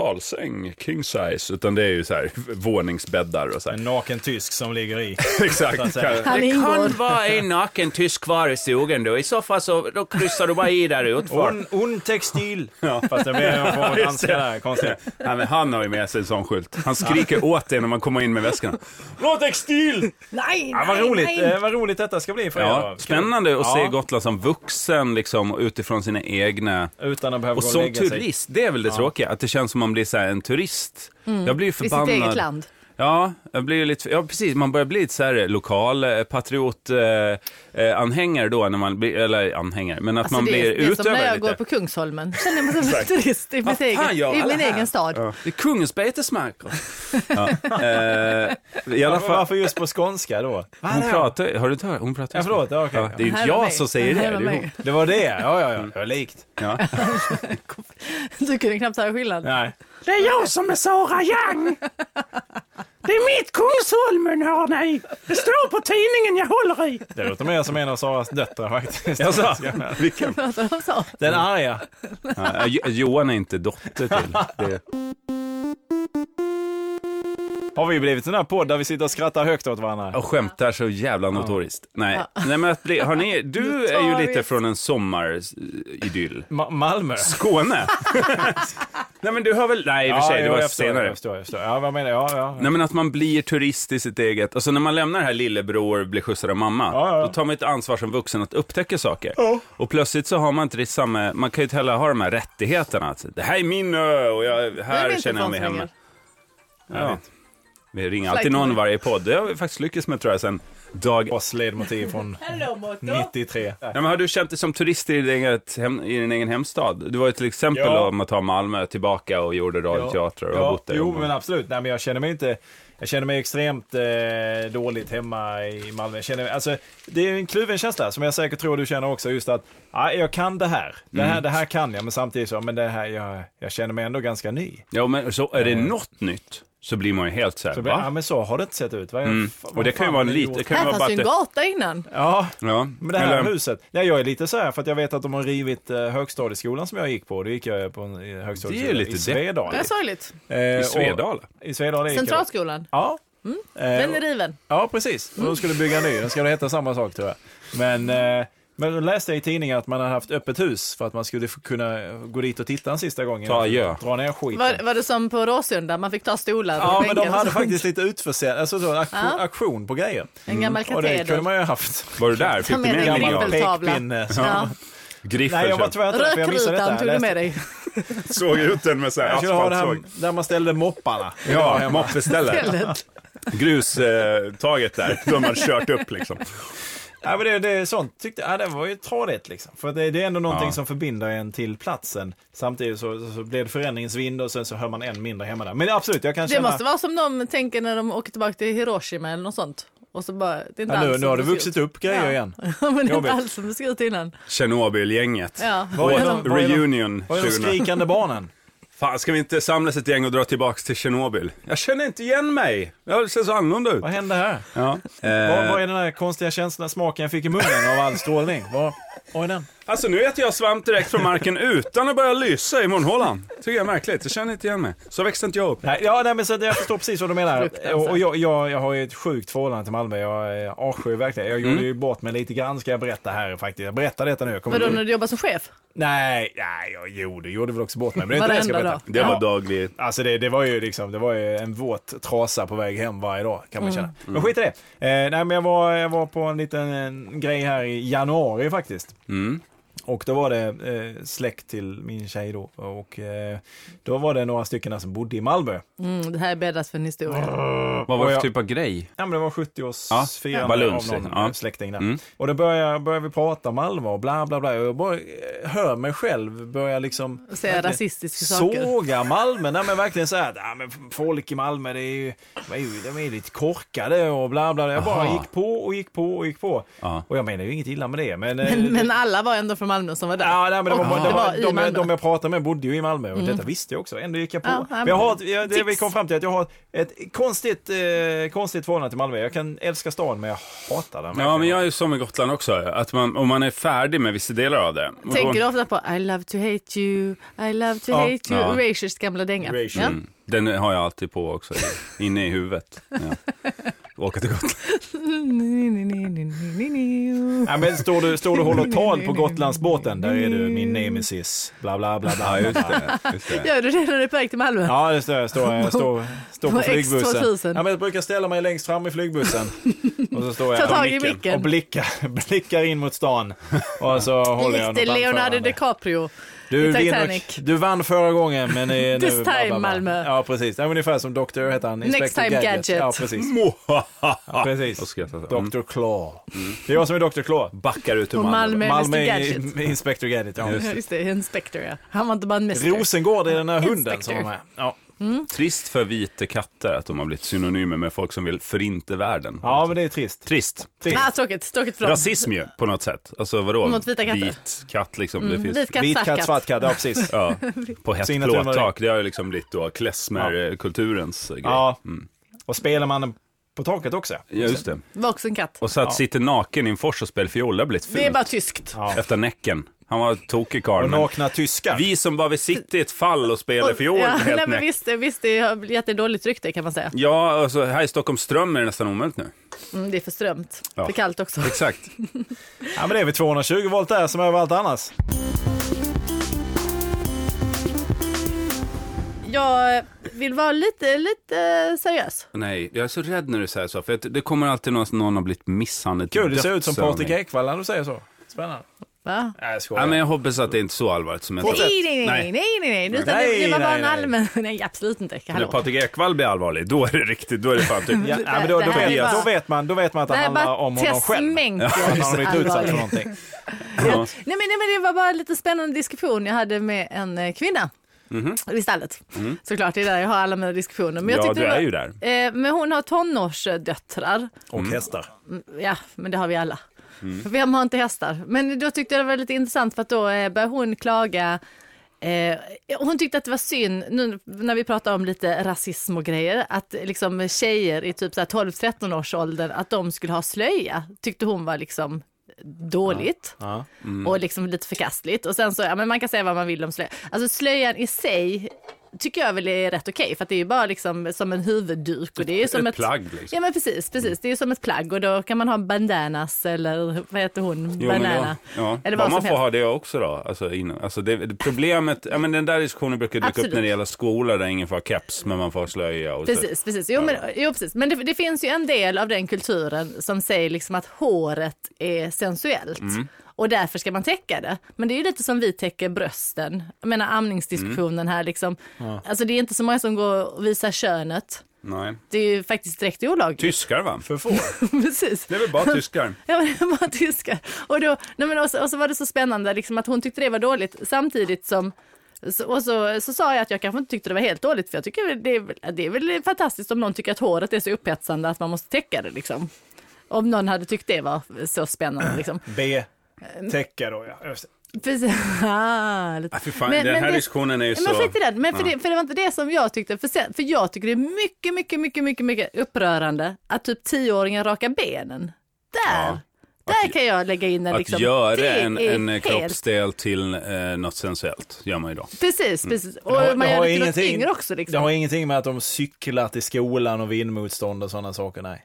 Speaker 1: kontinentalsäng, king size, utan det är ju så här [laughs] våningsbäddar och så här.
Speaker 2: En naken tysk som
Speaker 1: [laughs]
Speaker 2: ligger i.
Speaker 1: Exakt.
Speaker 3: Han
Speaker 1: det
Speaker 3: ingår.
Speaker 1: kan vara en naken tysk kvar i stugan då, i så fall så då kryssar du bara i där utför.
Speaker 2: On, on textil. Ja. Fast det blir någon
Speaker 1: [laughs]
Speaker 2: form av danska där, konstigt.
Speaker 1: Nej, men han har ju med sig en sån skylt. Han skriker åt dig när man kommer in med väskan. Nå textil!
Speaker 3: Nej,
Speaker 2: Ja, vad,
Speaker 3: nej,
Speaker 2: roligt.
Speaker 3: nej.
Speaker 2: Eh, vad roligt detta ska bli för er. då.
Speaker 1: Ja,
Speaker 2: Kul.
Speaker 1: spännande att se
Speaker 2: Ja,
Speaker 1: Gotland som vuxen liksom utifrån sina egna
Speaker 2: Utan att behöva
Speaker 1: Och
Speaker 2: gå och
Speaker 1: som
Speaker 2: lägga sig.
Speaker 1: turist, det är väl det tråkiga, att det känns som man blir så här en turist. Jag blir ju
Speaker 3: Mm. I
Speaker 1: förbannad.
Speaker 3: sitt eget land.
Speaker 1: Ja, jag blir ju lite, ja, precis, man börjar bli lite så här lokal eh, patriot eh, eh, anhängare då, när man blir, eller anhängare, men att
Speaker 3: Alltså,
Speaker 1: man
Speaker 3: det,
Speaker 1: blir
Speaker 3: är- det är som när jag
Speaker 1: utövare
Speaker 3: går
Speaker 1: lite.
Speaker 3: på Kungsholmen. Känner jag mig som en turist i, mitt eget,
Speaker 1: gör
Speaker 3: i
Speaker 1: alla
Speaker 3: min
Speaker 1: här?
Speaker 3: egen stad.
Speaker 1: Ja. Det är kungens
Speaker 3: [laughs]
Speaker 1: betesmarker. ja. eh, I alla fall,
Speaker 2: Varför just på skånska då?
Speaker 1: hon pratar, har du inte hört? Hon pratar
Speaker 2: Ja, förlåt. Ja, okej.
Speaker 1: Ja, det är Mm. inte
Speaker 3: Här var mig.
Speaker 1: jag som säger det, det
Speaker 3: Här var
Speaker 1: är hon.
Speaker 3: mig.
Speaker 2: Det var det, ja, ja, ja. Det var likt.
Speaker 3: [laughs]
Speaker 1: Ja.
Speaker 3: Du kunde knappt höra skillnad.
Speaker 2: Nej.
Speaker 1: Det är jag som är Sara Young! Det är mitt Kungsholmen, hörni! Det står på tidningen jag håller i.
Speaker 2: Det låter mer som en av Saras döttrar faktiskt. [laughs]
Speaker 1: Jaså? Vilken?
Speaker 3: Pratar de så?
Speaker 2: Den arga.
Speaker 1: Ja, Jo- Johan är inte dotter till. Det...
Speaker 2: Har vi blivit sån här podd där vi sitter och skrattar högt åt varandra?
Speaker 1: Jag skämtar så jävla notoriskt. Nej, Nej men att bli, hörni, du är ju lite
Speaker 3: Notoriskt.
Speaker 1: från en sommaridyll.
Speaker 2: Ma- Malmö?
Speaker 1: Skåne! Nej men du har väl, nej i och för sig, det
Speaker 2: jo,
Speaker 1: var
Speaker 2: jag förstår,
Speaker 1: senare.
Speaker 2: Jag förstår, jag förstår. Ja, vad menar jag? Ja, ja.
Speaker 1: Nej men att man blir turist i sitt eget, alltså när man lämnar det här lillebror, blir skjutsad av mamma,
Speaker 2: Ja, ja.
Speaker 1: då tar man ett ansvar som vuxen att upptäcka saker. Och plötsligt så har man inte det samma, man kan ju inte heller ha de här rättigheterna. Att, det här är min ö och jag,
Speaker 3: Nu är vi
Speaker 1: här
Speaker 3: inte
Speaker 1: känner jag mig
Speaker 3: från
Speaker 1: hemma.
Speaker 3: Sverige.
Speaker 1: Ja. Vi ringer alltid
Speaker 3: Flight
Speaker 1: någon i
Speaker 3: mode.
Speaker 1: varje podd, det har vi faktiskt lyckats med tror jag sen dag
Speaker 2: Oss ledmotiv från
Speaker 3: Hello, Motto.
Speaker 2: 93.
Speaker 1: [laughs] Ja, men har du känt dig som turist i din, eget hem, i din egen hemstad? Du var ju till exempel
Speaker 2: Ja.
Speaker 1: om att ta Malmö tillbaka och gjorde radioteatrar och har bott där.
Speaker 2: jo, men absolut. Nej, men jag känner mig inte... Jag känner mig extremt eh, dåligt hemma i Malmö. Jag känner, alltså, det är en kluven känsla som jag säkert tror du känner också. Just att ah, jag kan det här. Det
Speaker 1: Mm.
Speaker 2: här, det här kan jag, men samtidigt så, men det här, jag, jag känner mig ändå ganska ny.
Speaker 1: Ja, men så är det något nytt så blir man ju helt så här,
Speaker 2: Eh. Så,
Speaker 1: va?
Speaker 2: ja, men så har det inte sett ut. Vad, mm.
Speaker 1: Och det kan ju vara en liten... Det kan ju
Speaker 3: Här
Speaker 1: vara bara
Speaker 3: fanns
Speaker 1: att
Speaker 3: ju en
Speaker 1: det,
Speaker 3: gata innan.
Speaker 2: Ja,
Speaker 1: ja,
Speaker 2: Men det här
Speaker 1: eller-
Speaker 2: huset, nej, jag är lite så här för att jag vet att de har rivit eh, högstadieskolan som jag gick på. Då gick jag på en eh, högstadieskola
Speaker 1: Det är ju lite
Speaker 2: i Svedala.
Speaker 3: Det är sorgligt.
Speaker 2: Eh,
Speaker 1: I
Speaker 2: och-
Speaker 1: Svedala?
Speaker 2: I Svedala gick jag.
Speaker 3: Centralskolan.
Speaker 2: Ja. Eh,
Speaker 3: Den Mm. är riven.
Speaker 2: ja, precis. Och de skulle bygga en ny. Den ska väl heta samma sak tror jag. Men, eh, men då läste jag i tidningen att man hade haft öppet hus för att man skulle få kunna gå dit och titta en sista gång.
Speaker 1: Ta adjö.
Speaker 2: Dra ner skiten.
Speaker 3: Var, var det som på Råsunda? Man fick ta stolar och
Speaker 2: Ja, men de
Speaker 3: bänkar och
Speaker 2: hade
Speaker 3: sånt.
Speaker 2: faktiskt lite utförsäljning, alltså så, en auktion,
Speaker 3: Ja.
Speaker 2: auktion på grejer.
Speaker 3: En gammal
Speaker 2: Mm, Och det kunde
Speaker 3: kateder.
Speaker 2: man ju ha haft.
Speaker 1: Var du där? Fick
Speaker 3: Ta
Speaker 1: du
Speaker 3: med
Speaker 1: med dig
Speaker 3: dig
Speaker 1: någon av
Speaker 3: griffel. Tavla.
Speaker 2: pekpinne.
Speaker 3: Ja.
Speaker 1: griffel?
Speaker 2: Nej, jag var
Speaker 1: sen?
Speaker 2: tyvärr inte där, för jag missade detta.
Speaker 3: Rökrutan
Speaker 2: Jag
Speaker 3: tog du
Speaker 2: läste-
Speaker 3: med
Speaker 2: [laughs]
Speaker 3: dig.
Speaker 1: såg ut den med så här
Speaker 2: Jag skulle ha det
Speaker 1: asfaltsåg.
Speaker 2: här, där man ställde mopparna.
Speaker 1: Ja, moppestället.
Speaker 3: istället.
Speaker 1: Grustaget där, som man kört upp liksom.
Speaker 2: ja men det, det är sånt tyckte jag, det var ju tradigt liksom. För det, det är ändå någonting
Speaker 1: Ja.
Speaker 2: som förbinder en till platsen. Samtidigt så, så, så blev det förändringsvind och sen så hör man en mindre hemma där. Men absolut, jag kan
Speaker 3: Det
Speaker 2: känna...
Speaker 3: måste vara som de tänker när de åker tillbaka till Hiroshima eller något sånt. Och så bara, det är inte
Speaker 2: ja, nu,
Speaker 3: alls
Speaker 2: nu
Speaker 3: som
Speaker 2: har det
Speaker 3: ser
Speaker 2: vuxit
Speaker 3: ut.
Speaker 2: upp Mm. grejer
Speaker 3: Ja.
Speaker 2: igen.
Speaker 3: [laughs] Ja, men det är
Speaker 2: Jobbigt.
Speaker 3: inte alls som det såg ut innan.
Speaker 1: Tjernobylgänget.
Speaker 3: Ja.
Speaker 1: Och
Speaker 2: Vad är de- vad är de-
Speaker 1: reunion
Speaker 2: Vad är de
Speaker 1: 2000.
Speaker 2: skrikande barnen?
Speaker 1: Fan, ska vi inte samlas ett gäng och dra tillbaka till Tjernobyl? Jag känner inte igen mig. Jag ser så annorlunda ut.
Speaker 2: Vad hände här?
Speaker 1: Ja.
Speaker 2: Vad,
Speaker 1: Eh,
Speaker 2: vad är den här konstiga känslan, smaken jag fick i munnen av all strålning? Vad, vad är den?
Speaker 1: alltså nu äter jag svamp direkt från marken utan att börja lysa i munhålan. Tycker jag är märkligt. Jag känner inte igen mig. Så växte inte jag upp.
Speaker 2: Nej, ja, nej, men så, att jag förstår precis vad du menar.
Speaker 3: Fruktansvärt.
Speaker 2: Och, och jag, jag, jag har ju ett sjukt förhållande till Malmö. Jag eh, avskyr verkligen. Jag
Speaker 1: Mm.
Speaker 2: gjorde ju bort mig lite grann ska jag berätta här faktiskt. Jag berättar detta nu. Jag kommer
Speaker 3: Vadå
Speaker 2: inte-
Speaker 3: när du jobbar som chef?
Speaker 2: Nej, nej, jag gjorde, gjorde väl också bort mig. Men det är inte det jag ska
Speaker 3: Varenda
Speaker 2: berätta.
Speaker 3: dag.
Speaker 1: Det var daglig...
Speaker 2: Alltså det, det var ju liksom, det var ju en våt trasa på väg hem varje dag kan
Speaker 3: Mm.
Speaker 2: man känna. Men skit i det. Eh, nej men jag var, jag var på en liten eh, grej här i januari faktiskt.
Speaker 1: Mm.
Speaker 2: Och då var det eh, släkt till min tjej då. Och eh, då var det några stycken där som bodde i Malmö.
Speaker 3: Mm, det här är bäddat för en historia.
Speaker 1: Vad var det för
Speaker 2: jag-
Speaker 1: typ av grej?
Speaker 2: Ja men det var 70-årsfirande
Speaker 1: Ja,
Speaker 2: av
Speaker 1: Valunds,
Speaker 2: någon
Speaker 1: ja.
Speaker 2: släkting där.
Speaker 1: Mm.
Speaker 2: Och då började, började vi prata Malmö och bla bla bla. Och jag bara eh, hör mig själv börja liksom
Speaker 3: Och Säga rasistiska saker.
Speaker 2: Såga Malmö, nej men verkligen så här, nej, men folk i Malmö det är ju, de är ju, de är ju lite korkade och bla bla. Jag bara
Speaker 1: Aha.
Speaker 2: gick på och gick på och gick på.
Speaker 1: Ja.
Speaker 2: Och jag menar ju inget illa med det, men... eh,
Speaker 3: Men, men alla var ändå från Malmö som var där.
Speaker 2: Ja, nej, men de,
Speaker 3: Och
Speaker 2: de,
Speaker 3: det var
Speaker 2: de,
Speaker 3: i
Speaker 2: de,
Speaker 3: Malmö. Mm.
Speaker 2: de jag pratade med bodde ju i Malmö och detta visste jag också. Ändå gick jag på.
Speaker 3: Ja, ja,
Speaker 2: men jag har, ett-
Speaker 3: men-
Speaker 2: jag, det vi
Speaker 3: tips.
Speaker 2: kom fram till att jag har ett konstigt, eh, konstigt förhållande till Malmö. Jag kan älska stan men jag hatar den.
Speaker 1: Ja, men jag är ju som med Gotland också. Att man, om man är färdig med vissa delar av det. och
Speaker 3: Tänker
Speaker 1: då-
Speaker 3: du ofta på I love to hate you, I love to
Speaker 2: Ja.
Speaker 3: hate you,
Speaker 1: Ja.
Speaker 3: Erasures gamla dänga.
Speaker 2: Erasure.
Speaker 3: Ja.
Speaker 1: Mm. Den har jag alltid på också, inne i huvudet. Ja. Åka till
Speaker 3: [laughs]
Speaker 1: Gotland.
Speaker 2: Ja, men står, du, står du och håller tal
Speaker 3: [laughs]
Speaker 2: på Gotlandsbåten, där är du min nemesis. Bla bla bla. bla.
Speaker 1: Ja, just det. Just det.
Speaker 3: Gör du det när du är på väg till Malmö?
Speaker 2: Ja, det står jag. Står, jag står, står på
Speaker 3: På
Speaker 2: flygbussen.
Speaker 3: X2000.
Speaker 2: Ja, men jag brukar ställa mig längst fram i flygbussen. Och så står jag
Speaker 3: Ta tag i
Speaker 2: och blickar-
Speaker 3: micken.
Speaker 2: Och blickar, [laughs] blickar in mot stan. Och så håller jag
Speaker 3: Lite
Speaker 2: något
Speaker 3: Leonardo
Speaker 2: anförande.
Speaker 3: DiCaprio.
Speaker 2: Du,
Speaker 3: i
Speaker 2: vinner,
Speaker 3: Titanic.
Speaker 2: du vann förra gången, men är nu...
Speaker 3: This
Speaker 2: bla, bla, bla.
Speaker 3: time, Malmö.
Speaker 2: Ja, precis. Ja, ungefär som Dr. heter han.
Speaker 3: Next
Speaker 2: Inspector
Speaker 3: time Gadget.
Speaker 2: Ja, precis.
Speaker 1: Mwahaha. Och
Speaker 2: precis.
Speaker 1: skrattar så. Mm.
Speaker 2: Dr. Claw. Det är jag som är Dr. Claw.
Speaker 1: Backar ut ur
Speaker 3: Och
Speaker 1: Malmö.
Speaker 3: Malmö är
Speaker 2: Malmö
Speaker 3: Mr
Speaker 2: är [laughs]
Speaker 3: Gadget.
Speaker 2: Inspector Gadget. Ja.
Speaker 1: Just
Speaker 3: Ja, Just det, Inspector ja. Han var inte bara en mästare.
Speaker 2: Rosengård är den här hunden som
Speaker 3: Inspector.
Speaker 2: var med. Ja.
Speaker 1: Trist för vita katter att de har blivit synonymer med folk som vill förinta världen.
Speaker 2: ja, men det är trist.
Speaker 1: Trist.
Speaker 2: trist.
Speaker 3: Ah, tråkigt, tråkigt för dem.
Speaker 1: Rasism ju, på något sätt. Alltså vadå?
Speaker 3: Mot vita katter. Mm,
Speaker 1: Vit katt liksom. Det finns...
Speaker 3: Vit katt,
Speaker 2: Vit
Speaker 3: svart
Speaker 2: katt,
Speaker 3: katt.
Speaker 2: svart katt. Ja, precis.
Speaker 3: [laughs]
Speaker 1: Ja, på hett
Speaker 2: Signaturen var
Speaker 1: plåttak. Det har ju liksom blivit då klezmerkulturens grej.
Speaker 2: Ja. Och spelar man på taket också.
Speaker 1: Ja, just det.
Speaker 3: Var också en katt.
Speaker 1: Och så att sitta naken i en fors och spela fiol, det har blivit
Speaker 3: Det är
Speaker 1: fult.
Speaker 3: bara tyskt.
Speaker 2: Ja.
Speaker 1: Efter näcken. Han var tokig karl.
Speaker 2: Och
Speaker 1: men-
Speaker 2: nakna tyskar.
Speaker 1: Vi som bara vill sitta i ett fall och spela fiol
Speaker 3: ja,
Speaker 1: helt
Speaker 3: nej, men
Speaker 1: näck.
Speaker 3: visst, visst, det har jättedåligt rykte kan man säga.
Speaker 1: Ja, alltså, här i Stockholms ström är det nästan omöjligt nu.
Speaker 3: Mm, det är för strömt.
Speaker 1: Ja.
Speaker 3: För kallt också.
Speaker 1: Exakt.
Speaker 2: Ja, men det är väl 220 volt där som överallt annars.
Speaker 3: Jag vill vara lite, lite seriös.
Speaker 1: Nej, jag är så rädd när du säger så, för att det kommer alltid någon, någon har blivit misshandlad till
Speaker 2: Gud, du ser
Speaker 1: döds
Speaker 2: ut som
Speaker 1: av
Speaker 2: Patrik
Speaker 1: mig.
Speaker 2: Ekwall när du säger så. Spännande.
Speaker 3: Va?
Speaker 2: Nej, jag skojar.
Speaker 1: Ja, men jag hoppas att det är inte är så allvarligt som jag tror.
Speaker 3: Nej, nej, nej, nej, nej, nej. Utan
Speaker 2: Nej,
Speaker 3: det, det var bara
Speaker 2: nej,
Speaker 3: en
Speaker 2: nej.
Speaker 3: allmän... [laughs] Nej, absolut inte.
Speaker 1: När
Speaker 3: Hallå.
Speaker 1: Patrik Ekwall blir allvarlig, då är det riktigt, då är det fan
Speaker 3: [laughs]
Speaker 1: typ... [laughs]
Speaker 2: Ja,
Speaker 1: ja.
Speaker 2: ja, men då,
Speaker 3: Det
Speaker 2: då,
Speaker 3: här är
Speaker 2: vet,
Speaker 3: bara-
Speaker 2: då, vet man, då vet man att det
Speaker 3: Det här är
Speaker 2: handlar
Speaker 3: bara
Speaker 2: om honom själv.
Speaker 3: testmänker.
Speaker 2: Att han har blivit utsatt för
Speaker 3: Allvarligt.
Speaker 2: någonting.
Speaker 3: Nej men, nej men det var bara lite spännande diskussion jag hade med en eh, kvinna. I stallet. Såklart, det är där jag har alla mina diskussioner. Men jag
Speaker 1: Mhm. Ja,
Speaker 3: tyckte
Speaker 1: du
Speaker 3: det var,
Speaker 1: är ju där.
Speaker 3: Eh, men hon har tonårsdöttrar.
Speaker 2: Och hästar.
Speaker 3: Ja, men det har vi alla. Vem har inte hästar? Men då tyckte jag det var lite intressant för att då eh, började hon klaga. Eh, hon tyckte att det var synd, nu när vi pratar om lite rasism och grejer, att liksom tjejer i typ så här 12-13 års ålder, att de skulle ha slöja, tyckte hon var liksom dåligt
Speaker 2: Ja.
Speaker 3: och liksom lite förkastligt. Och sen så, ja men man kan säga vad man vill om slöja. Alltså slöjan i sig tycker jag väl är rätt okej för att det är ju bara liksom som en huvudduk och det är ju som
Speaker 1: ett
Speaker 3: ett,
Speaker 1: plagg, liksom.
Speaker 3: Ja men precis, precis. Det är ju som ett plagg och då kan man ha bandanas eller vad heter hon,
Speaker 1: Jo, men
Speaker 3: banana.
Speaker 1: då, ja.
Speaker 3: Eller
Speaker 1: Eller
Speaker 3: vad
Speaker 1: man
Speaker 3: som
Speaker 1: får
Speaker 3: helst.
Speaker 1: ha det också då. Alltså, innan, alltså det, det, problemet, ja, men den där diskussionen brukar dyka upp
Speaker 3: Absolut.
Speaker 1: när det gäller skola där ingen får ha keps men man får ha slöja. Och Så.
Speaker 3: Precis, precis. Jo, men, jo, precis. men det, det finns ju en del av den kulturen som säger liksom att håret är sensuellt
Speaker 1: Mm.
Speaker 3: och därför ska man täcka det. Men det är ju lite som vi täcker brösten. Jag menar amningsdiskussionen
Speaker 1: Mm.
Speaker 3: här liksom. Alltså det är inte så många som går och visar könet.
Speaker 1: Nej.
Speaker 3: Det är ju faktiskt direkt olagligt.
Speaker 1: Tyskar va?
Speaker 2: För få.
Speaker 3: [laughs] precis.
Speaker 1: Det är
Speaker 3: [laughs]
Speaker 1: väl bara tyskar?
Speaker 3: Ja, men det var tyskar. Och, då, nej men och, så, och så var det så spännande liksom, att hon tyckte det var dåligt samtidigt som så, och så, så sa jag att jag kanske inte tyckte det var helt dåligt för jag tycker väl det är, väl- det är väl fantastiskt om någon tycker att håret är så upphetsande att man måste täcka det liksom. Om någon hade tyckt det var så spännande liksom.
Speaker 2: B. Täcka då, ja. Just det.
Speaker 3: Precis. [laughs] Ah, lite.
Speaker 1: Ah, fy fan, den här diskussionen är ju
Speaker 3: men
Speaker 1: så-
Speaker 3: Skit i den. Men för,
Speaker 1: Ja.
Speaker 3: det, för det var inte det som jag tyckte. För, sen, för jag tycker det är mycket, mycket, mycket, mycket, mycket upprörande att typ tioåringar rakar benen. Där!
Speaker 1: Ja.
Speaker 3: Där
Speaker 1: Att-
Speaker 3: kan jag lägga in en
Speaker 1: Att
Speaker 3: liksom.
Speaker 1: göra
Speaker 3: det
Speaker 1: en,
Speaker 3: är
Speaker 1: en
Speaker 3: helt-
Speaker 1: kroppsdel till eh, något sensuellt gör man ju då.
Speaker 3: Precis,
Speaker 1: Mm.
Speaker 3: precis. Och
Speaker 2: Det har-
Speaker 3: man
Speaker 2: det
Speaker 3: gör
Speaker 2: har
Speaker 3: det till något
Speaker 2: ingenting-
Speaker 3: yngre också liksom.
Speaker 2: Det har ingenting med att de cyklat i skolan och vindmotstånd och sådana saker, nej.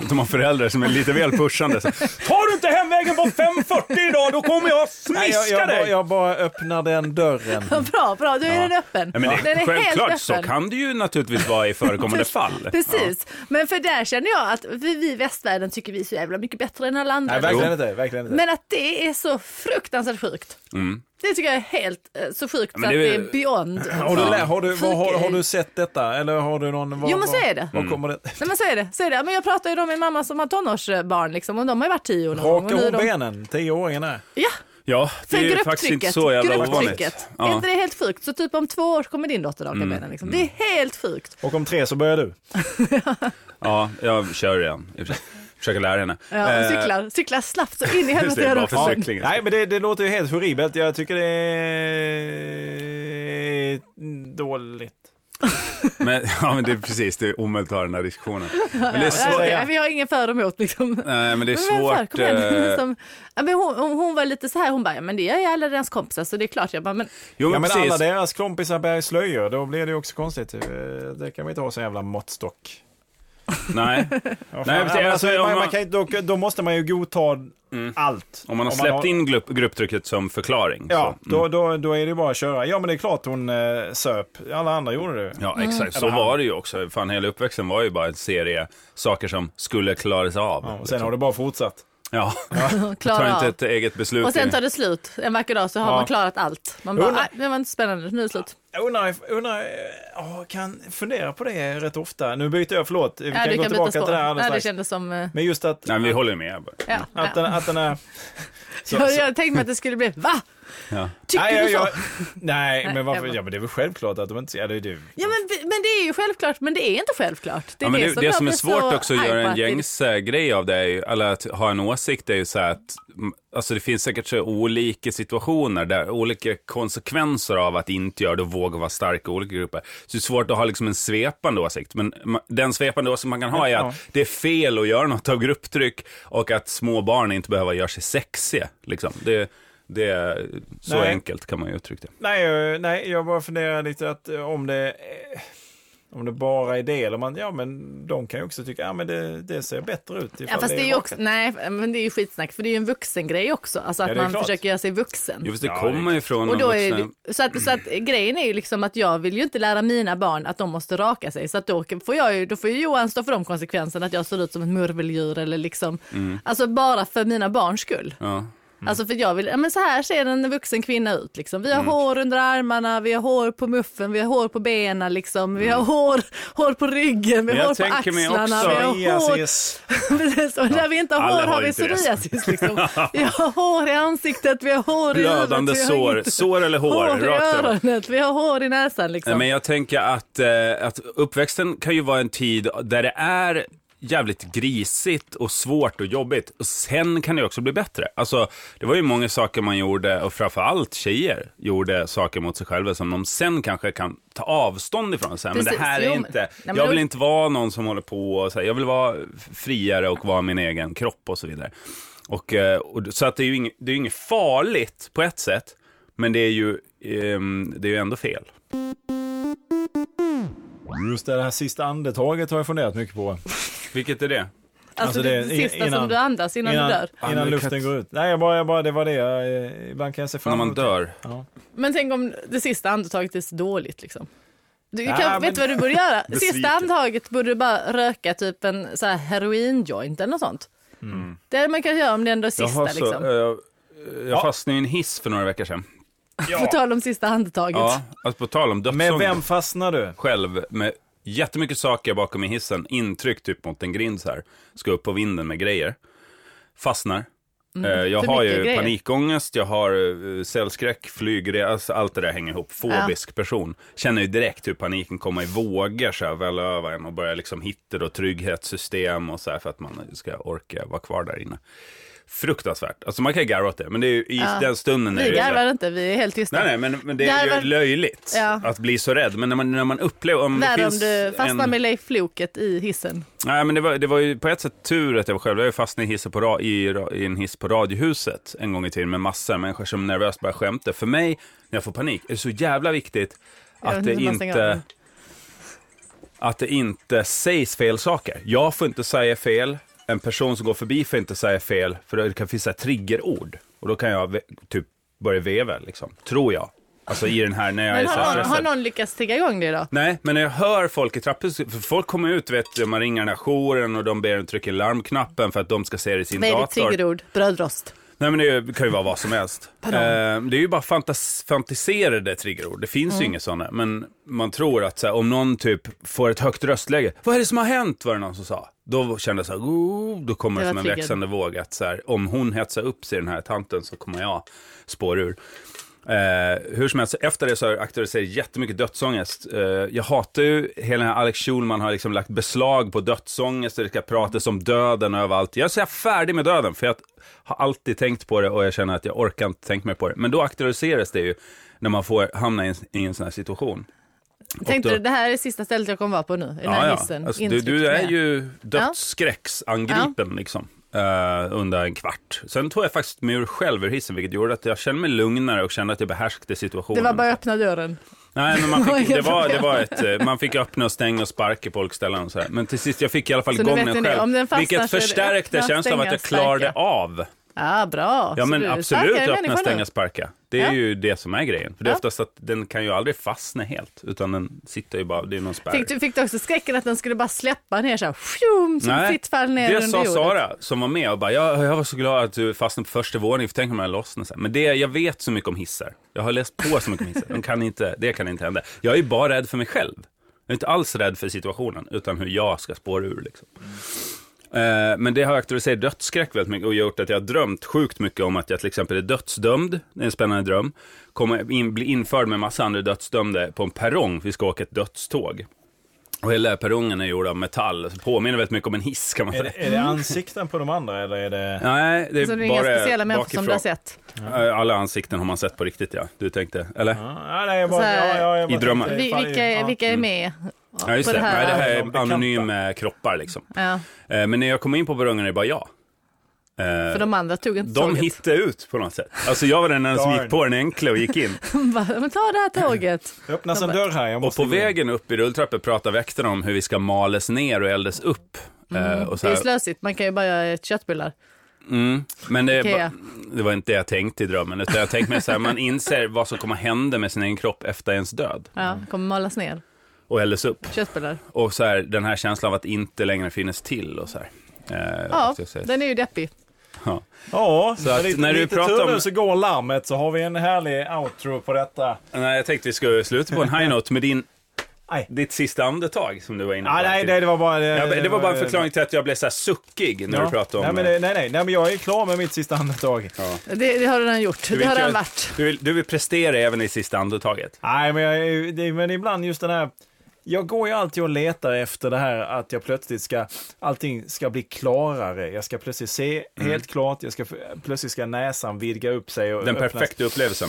Speaker 1: Att de har föräldrar som är lite väl pushande. Så,
Speaker 2: Tar du inte hem vägen på 5.40 idag, då kommer jag
Speaker 1: Nej, jag- jag bara-
Speaker 2: Jag, bara öppnar den
Speaker 3: [laughs]
Speaker 2: dörren.
Speaker 3: [laughs] Bra, bra. Då är den öppen.
Speaker 1: Nej, men det,
Speaker 3: den är
Speaker 1: självklart,
Speaker 3: helt
Speaker 1: så
Speaker 3: öppen.
Speaker 1: kan det ju naturligtvis vara i förekommande fall.
Speaker 3: Precis, men för där känner jag att vi, vi i västvärlden tycker vi är så jävla mycket bättre än alla andra.
Speaker 2: Nej,
Speaker 1: verkligen
Speaker 2: verkligen inte. Verkligen inte.
Speaker 3: Men att det är så fruktansvärt sjukt. Det tycker jag är helt eh, så sjukt
Speaker 1: Mm. men
Speaker 3: att
Speaker 1: det
Speaker 3: det
Speaker 1: är-
Speaker 3: är beyond.
Speaker 2: Har du,
Speaker 3: Så-
Speaker 2: lä- har, du, vad, har, har du sett detta? Eller har du någon... vad-
Speaker 3: Jo, men så
Speaker 2: vad-
Speaker 3: är det. Mm.
Speaker 2: Vad kommer det? [laughs]
Speaker 3: Nej men så är det, så är det. Men jag pratar ju då med mamma som har tonårsbarn liksom och de har ju varit tio år någon gång. och
Speaker 2: Rakar
Speaker 3: nu är
Speaker 2: hon
Speaker 3: de-
Speaker 2: benen? Tioåringen är.
Speaker 3: Ja,
Speaker 1: Ja, det
Speaker 3: för
Speaker 1: är ju
Speaker 3: grupptrycket.
Speaker 1: faktiskt inte så jävla ovanligt.
Speaker 3: grupptrycket. Är
Speaker 1: Ja. Mm.
Speaker 3: inte det helt sjukt? Så typ om två år kommer din dotter raka benen liksom. Det är helt sjukt.
Speaker 2: Och om tre så börjar du.
Speaker 1: ja, jag kör igen. Jag försöker lära henne.
Speaker 3: Ja, och
Speaker 1: Eh,
Speaker 3: cyklar, cyklar slappt så in i
Speaker 1: just
Speaker 3: helvete
Speaker 1: det,
Speaker 3: gör de
Speaker 1: bara
Speaker 3: också.
Speaker 1: för cyklingen.
Speaker 2: Nej, men det, det låter ju helt horribelt. Jag tycker det är dåligt.
Speaker 1: Men, ja, men det är precis, det är omöjligt att ha den här diskussionen. Men det är,
Speaker 3: Ja,
Speaker 1: så,
Speaker 3: okej,
Speaker 2: ja.
Speaker 3: Vi har ingen för och emot liksom.
Speaker 1: nej, men det är
Speaker 3: Men vem fan,
Speaker 1: svårt.
Speaker 3: kom igen.
Speaker 1: eh,
Speaker 3: Som, ja, men hon, hon, hon var lite så här, hon bara, ja, men det gör ju alla deras kompisar så det är klart. Jag bara, men [laughs]
Speaker 1: Jo,
Speaker 2: Ja,
Speaker 1: men
Speaker 2: men alla
Speaker 1: precis.
Speaker 2: deras kompisar bär slöjor. Då blir det ju också konstigt. Eh, Det kan man inte ha som jävla måttstock.
Speaker 1: Nej.
Speaker 2: Ja,
Speaker 1: Nej,
Speaker 2: fan.
Speaker 1: precis.
Speaker 2: Ja, men
Speaker 1: Alltså,
Speaker 2: man,
Speaker 1: om
Speaker 2: man
Speaker 1: man- Mm.
Speaker 2: kan, inte- då, då måste man ju godta allt. [laughs]
Speaker 1: Om man har släppt in grupp, grupptrycket som förklaring.
Speaker 2: Ja,
Speaker 1: så. mm.
Speaker 2: då, då, då är det ju bara att köra. Ja, men det är klart hon eh, söp. Alla andra gjorde det.
Speaker 1: Ja,
Speaker 3: Mm.
Speaker 1: exakt. Så
Speaker 2: Eller han.
Speaker 1: var det ju också. Fan, hela uppväxten var ju bara en serie saker som skulle klaras av.
Speaker 2: Ja, och sen har det bara fortsatt.
Speaker 1: Ja,
Speaker 3: klara
Speaker 1: tar
Speaker 3: av.
Speaker 1: inte ett eget beslut.
Speaker 3: Och sen
Speaker 1: i-
Speaker 3: tar det slut. En vacker dag så har
Speaker 2: Ja.
Speaker 3: man klarat allt. Man
Speaker 2: Jo,
Speaker 3: bara,
Speaker 2: men-
Speaker 3: nej, det var inte spännande, nu är det slut.
Speaker 2: Jag undrar, if- undrar eh, ja, kan fundera på det rätt ofta. Nu byter jag, förlåt. Vi
Speaker 3: nej,
Speaker 2: kan
Speaker 3: du
Speaker 2: gå
Speaker 3: kan byta
Speaker 2: tillbaka
Speaker 3: spår.
Speaker 2: till det här alldeles
Speaker 3: nej, det
Speaker 2: strax.
Speaker 3: kändes som... eh,
Speaker 2: Men just att,
Speaker 1: Nej, men vi håller ju med. bara.
Speaker 3: Ja,
Speaker 2: att, den,
Speaker 3: ja.
Speaker 2: att den är...
Speaker 3: [laughs]
Speaker 2: Så,
Speaker 3: jag, jag tänkte mig att det skulle bli, va?
Speaker 1: Ja.
Speaker 3: Tycker
Speaker 2: nej, jag,
Speaker 3: du så?
Speaker 2: jag, nej, men varför?
Speaker 3: jag bara-
Speaker 2: Ja, men det är väl självklart att de inte... Ja, det är du.
Speaker 3: Ja, men, vi- men det är ju självklart, men det är inte självklart. Det är
Speaker 1: Ja, men
Speaker 3: det,
Speaker 1: det, det,
Speaker 3: jag
Speaker 1: som är
Speaker 3: blir
Speaker 1: svårt
Speaker 3: så
Speaker 1: också
Speaker 3: arg
Speaker 1: att göra
Speaker 3: på
Speaker 1: en
Speaker 3: det-
Speaker 1: gängs eh, grej av det, är ju- eller att ha en åsikt, är ju så här att mm, alltså det finns säkert så olika situationer, där, olika konsekvenser av att inte göra det och våga vara stark i olika grupper. Så det är svårt att ha liksom en svepande åsikt, men ma- den svepande åsikt man kan ha är
Speaker 2: Ja.
Speaker 1: att det är fel att göra något av grupptryck och att små barn inte behöver göra sig sexiga. Liksom. Det, det är så
Speaker 2: Nej.
Speaker 1: enkelt kan man ju uttrycka det.
Speaker 2: Nej, jag- nej, jag bara funderar lite att eh, om det... eh, Om det bara är det, eller man, ja men de kan ju också tycka, ja men det, det ser bättre ut.
Speaker 3: Ja,
Speaker 2: ifall
Speaker 3: fast det är ju
Speaker 2: rakat.
Speaker 3: också, nej, men det är ju skitsnack, för det är ju en vuxengrej också. Alltså att
Speaker 2: Ja, det är
Speaker 3: man
Speaker 2: klart.
Speaker 3: försöker göra sig vuxen.
Speaker 1: Jo, fast det
Speaker 2: Ja, det är
Speaker 1: kommer ju från
Speaker 3: Och
Speaker 1: de
Speaker 3: då är
Speaker 1: vuxna.
Speaker 3: det, så, att, så att grejen är ju liksom att jag vill ju inte lära mina barn att de måste raka sig. Så att då får, jag ju, då får ju Johan stå för de konsekvenserna att jag ser ut som ett murveldjur eller liksom. Alltså bara för mina barns skull.
Speaker 1: Ja.
Speaker 3: Alltså för jag vill, ja men så här ser en vuxen kvinna ut liksom. Vi har
Speaker 1: Mm.
Speaker 3: hår under armarna, vi har hår på muffen, vi har hår på benen liksom. Vi har hår, hår på ryggen, vi
Speaker 1: Men
Speaker 3: har
Speaker 1: Mm. jag
Speaker 3: hår på
Speaker 1: tänker mig
Speaker 3: axlarna,
Speaker 1: också-
Speaker 3: vi har hår [laughs]
Speaker 2: Psoriasis.
Speaker 3: Precis, och där vi inte har
Speaker 1: Alla
Speaker 3: hår
Speaker 1: har
Speaker 3: har vi
Speaker 1: inte det. [laughs]
Speaker 3: psoriasis. Liksom. Vi har hår i ansiktet, vi har hår i öronen.
Speaker 1: Blödande
Speaker 3: vi har
Speaker 1: sår,
Speaker 3: inte-
Speaker 1: sår eller hår,
Speaker 3: Hår i
Speaker 1: rakt över.
Speaker 3: öronet, vi har hår i näsan. Liksom.
Speaker 1: Nej, Men jag tänker att, eh, att uppväxten kan ju vara en tid där det är jävligt grisigt och svårt och jobbigt. Och sen kan det också bli bättre. Alltså, det var ju många saker man gjorde, och framförallt tjejer gjorde saker mot sig själva som de sen kanske kan ta avstånd ifrån. Så här, men det
Speaker 3: Precis,
Speaker 1: här är
Speaker 3: jo, men-
Speaker 1: inte,
Speaker 3: Nej, men
Speaker 1: jag
Speaker 3: då-
Speaker 1: vill inte vara någon som håller på och så här, jag vill vara friare och vara min egen kropp och så vidare. Och, eh, och, så att det är ju inget, det är ju inget farligt på ett sätt, men det är ju, ehm, det är ju ändå fel.
Speaker 2: Just det här sista andetaget har jag funderat mycket på.
Speaker 1: Vilket är det?
Speaker 3: alltså,
Speaker 2: alltså,
Speaker 3: det,
Speaker 2: det-
Speaker 3: sista
Speaker 2: innan-
Speaker 3: som du andas innan, du dör.
Speaker 1: Ja, men
Speaker 2: innan
Speaker 1: det kan
Speaker 2: luften
Speaker 1: inte-
Speaker 2: går ut. Nej, jag bara, jag bara, det var det. Jag, eh, ibland kan jag se fram
Speaker 1: När man
Speaker 2: emot
Speaker 1: dör.
Speaker 2: Ja.
Speaker 3: Men tänk om det sista andetaget är så dåligt. Liksom. Du kan,
Speaker 2: Nej, men-
Speaker 3: Vet du vad du borde göra?
Speaker 1: Besviken.
Speaker 3: sista andetaget borde du bara röka typ en så här heroin-joint eller något sånt. Det är det man kan göra om det ändå är sista.
Speaker 1: Mm. Jag, har så,
Speaker 3: liksom.
Speaker 1: eh, jag fastnade i en hiss för några veckor sedan.
Speaker 3: På tal om sista andetaget.
Speaker 1: Ja, alltså på tal om
Speaker 2: Med
Speaker 1: dödsångest.
Speaker 2: vem fastnar du?
Speaker 1: Själv med jättemycket saker bakom i hissen, intryck typ mot en grind så här. Ska upp på vinden med grejer. Fastnar. Eh, jag
Speaker 3: Mm. för
Speaker 1: har ju
Speaker 3: mycket grejer.
Speaker 1: panikångest, jag har uh, cellskräck, flygre, alltså allt det där hänger ihop. Fobisk person. Känner ju direkt hur paniken kommer i vågor så här, väl över en och börjar liksom hitta då trygghetssystem och så här för att man ska orka vara kvar där inne. fruktansvärt. Alltså man kan garva åt det, men det är ju, i den stunden är
Speaker 3: Vi
Speaker 1: det ju så här-
Speaker 3: garvar inte, vi är helt tysta.
Speaker 1: Nej, nej, men, men det är
Speaker 3: Garvar-
Speaker 1: ju löjligt
Speaker 3: Ja.
Speaker 1: att bli så rädd. Men när man, när man upplever... Om det
Speaker 3: Där om
Speaker 1: finns
Speaker 3: du fastnar
Speaker 1: en...
Speaker 3: med Leif Loket i hissen.
Speaker 1: Nej, men det var, det var ju på ett sätt tur att jag var själv. Jag fastnade i, hissen på, ra- i, ra- i en hiss på Radiohuset en gång i tiden med massor av människor som nervöst började skämta. För mig, när jag får panik, är det så jävla viktigt
Speaker 3: vet
Speaker 1: att
Speaker 3: inte
Speaker 1: det
Speaker 3: hur man stänger av
Speaker 1: inte...
Speaker 3: den.
Speaker 1: Att det inte sägs fel saker. Jag får inte säga fel. En person som går förbi får inte säga fel. För det kan finnas så här triggerord. Och då kan jag ve- typ börja veva, liksom. Tror jag. Alltså i den här, när jag är
Speaker 3: Men
Speaker 1: så här
Speaker 3: har någon, har
Speaker 1: stressad.
Speaker 3: någon lyckats trigga igång det då?
Speaker 1: Nej, men när jag hör folk i trapphuset, för folk kommer ut, vet du, man ringer den här jouren och de ber en trycka larmknappen för att de ska se det i sin
Speaker 3: Vad är ditt
Speaker 1: dator.
Speaker 3: triggerord? Brödrost.
Speaker 1: Nej, men det är- det kan ju vara vad som helst. eh, det är ju bara fantas- fantiserade triggerord, det finns
Speaker 3: Mm.
Speaker 1: ju inga sådana. Men man tror att så här, om någon typ får ett högt röstläge, vad är det som har hänt, var det någon som sa. Då kände jag så här, "Oh", då kommer
Speaker 3: Det
Speaker 1: det
Speaker 3: var
Speaker 1: som en
Speaker 3: triggern.
Speaker 1: växande våg att så här, om hon hetsar upp sig den här tanten så kommer jag spåra ur. Eh, hur som helst, efter det så har jag aktualiserat jättemycket dödsångest. Eh, jag hatar ju hela den här Alex Schulman har liksom lagt beslag på dödsångest och det ska pratas om döden överallt. Jag är så här färdig med döden för jag har alltid tänkt på det och jag känner att jag orkar inte tänka mer på det. Men då aktualiseras det ju när man får hamna i en, i en sån här situation.
Speaker 3: Tänkte
Speaker 1: då-
Speaker 3: du, det här är sista stället jag kommer vara på nu, i den här hissen.
Speaker 1: Alltså, du, du
Speaker 3: Intryckt
Speaker 1: är
Speaker 3: med.
Speaker 1: ju dödsskräcksangripen liksom, eh, under en kvart. Sen tog jag faktiskt mig ur själv ur hissen, vilket gjorde att jag kände mig lugnare och kände att jag behärskade
Speaker 3: Det
Speaker 1: situationen.
Speaker 3: var bara att öppna dörren.
Speaker 1: Nej, men
Speaker 3: [laughs]
Speaker 1: man fick,
Speaker 3: Oj,
Speaker 1: det var, det var ett, eh, man fick öppna och stänga och sparka på olika ställen. Och så här. Men till sist, jag fick i alla fall
Speaker 3: Så nu
Speaker 1: igång
Speaker 3: vet ni
Speaker 1: den
Speaker 3: det.
Speaker 1: själv.
Speaker 3: Om den fastnar så är
Speaker 1: vilket
Speaker 3: det
Speaker 1: förstärkte
Speaker 3: öppna,
Speaker 1: känslan av att
Speaker 3: stänga,
Speaker 1: jag klarade
Speaker 3: sparka.
Speaker 1: av.
Speaker 3: Ja, bra.
Speaker 1: Ja,
Speaker 3: Så
Speaker 1: men
Speaker 3: du är
Speaker 1: absolut
Speaker 3: starkare
Speaker 1: öppna,
Speaker 3: människa nu.
Speaker 1: stänga, sparka. Det är
Speaker 3: Ja.
Speaker 1: ju det som är grejen. För det är
Speaker 3: Ja.
Speaker 1: oftast att den kan ju aldrig fastna helt, utan den sitter ju bara, det är någon spärr.
Speaker 3: Fick du, fick du också skräcken att den skulle bara släppa ner så här, fjum, som
Speaker 1: Nej,
Speaker 3: fritt fall ner
Speaker 1: det
Speaker 3: under
Speaker 1: sa
Speaker 3: jorden?
Speaker 1: Sara som var med och bara, jag, jag var så glad att du fastnade på första våningen, för tänk om jag lossnar sen. Men det, jag vet så mycket om hissar. Jag har läst på så mycket om hissar. De kan inte, det kan inte hända. Jag är bara rädd för mig själv. Jag är inte alls rädd för situationen, utan hur jag ska spåra ur. Liksom. Eh, men det har aktualiserat dödsskräck väldigt mycket och gjort att jag har drömt sjukt mycket om att jag till exempel är dödsdömd, det är en spännande dröm, kommer in, bli införd med massa andra dödsdömda på en perrong, vi ska åka ett dödståg. Och hela perrongen är gjord av metall, så påminner väldigt mycket om en hiss kan man
Speaker 2: Är
Speaker 1: säga.
Speaker 2: det,
Speaker 3: [laughs]
Speaker 2: är det ansikten på de andra eller är det...
Speaker 1: Nej, det är,
Speaker 3: Så Alltså, det är inga
Speaker 1: bara
Speaker 3: speciella människor som du har
Speaker 1: bakifrån.
Speaker 3: sett?
Speaker 1: Eh, Alla ansikten har man sett på riktigt ja, du tänkte, eller?
Speaker 2: Ja, nej, jag
Speaker 3: Så
Speaker 2: bara,
Speaker 3: här-
Speaker 2: ja, ja, jag bara
Speaker 1: I drömmar.
Speaker 2: tänkte-
Speaker 3: Vi,
Speaker 2: fan,
Speaker 3: vilka,
Speaker 2: ja.
Speaker 3: vilka är med?
Speaker 1: Mm. Ja, just
Speaker 3: på
Speaker 1: det.
Speaker 3: det här-
Speaker 1: Nej, det här
Speaker 2: De
Speaker 1: är
Speaker 2: bekanta.
Speaker 1: anonyma kroppar liksom.
Speaker 3: Ja,
Speaker 1: Eh, Men när jag kom in på perrongen är det bara jag. Eh,
Speaker 3: för de andra tog inte
Speaker 1: De
Speaker 3: tåget.
Speaker 1: hittade ut på något sätt. Alltså jag var den enda som
Speaker 2: Darn.
Speaker 1: gick på den enkla och gick
Speaker 2: [laughs]
Speaker 1: in.
Speaker 3: [laughs] De bara, men ta det här tåget.
Speaker 2: Det öppnas en dörr här, jag
Speaker 1: Och
Speaker 2: måste
Speaker 1: på
Speaker 2: gå.
Speaker 1: vägen upp i rulltrappor pratade väktarna om hur vi ska males ner och eldas upp. Eh, och så
Speaker 3: Mm. Det
Speaker 1: här.
Speaker 3: är
Speaker 1: mm.
Speaker 3: slösigt, man kan ju bara göra ett köttbullar.
Speaker 1: Men det, är
Speaker 3: Ikea.
Speaker 1: ba- det var inte det jag tänkte i drömmen, utan jag tänkte mig så här, man inser vad som kommer hända med sin egen kropp efter ens död
Speaker 3: Ja, kommer malas ner.
Speaker 1: och eldas upp.
Speaker 3: Köttbullar.
Speaker 1: Och så här, den här känslan av att inte längre finnas till och så här. Eh,
Speaker 3: Ja,
Speaker 1: måste jag säga.
Speaker 3: den är ju deppig.
Speaker 1: ja.
Speaker 2: Ja, så
Speaker 1: att
Speaker 2: lite,
Speaker 1: när
Speaker 2: när
Speaker 1: du
Speaker 2: du lite
Speaker 1: pratar
Speaker 2: tur
Speaker 1: om-
Speaker 2: nu så går larmet så har vi en härlig outro på detta.
Speaker 1: Nej, jag tänkte vi skulle sluta på en high note med din,
Speaker 2: Nej.
Speaker 1: ditt sista andetag som du var inne på.
Speaker 2: Ah, nej, nej, det var bara... eh,
Speaker 1: Ja, men det var bara en förklaring till att jag blev så här suckig när
Speaker 2: Ja.
Speaker 1: du pratade
Speaker 2: nej,
Speaker 1: om...
Speaker 2: men,
Speaker 1: eh,
Speaker 2: det- nej, nej, nej, men jag är klar med mitt sista andetag.
Speaker 3: Det, det har du redan
Speaker 1: du
Speaker 3: gjort. det
Speaker 1: vill
Speaker 3: har
Speaker 1: inte
Speaker 3: redan
Speaker 1: göra-
Speaker 3: varit.
Speaker 1: Du vill, du vill prestera även i sista andetaget.
Speaker 2: Nej, men, jag, är- det, men ibland just den här... Jag går ju alltid och letar efter det här att jag plötsligt ska, allting ska bli klarare. Jag ska plötsligt se helt klart, jag ska, plötsligt ska näsan vidga upp sig. Och
Speaker 1: Den
Speaker 2: öppnas.
Speaker 1: perfekta upplevelsen.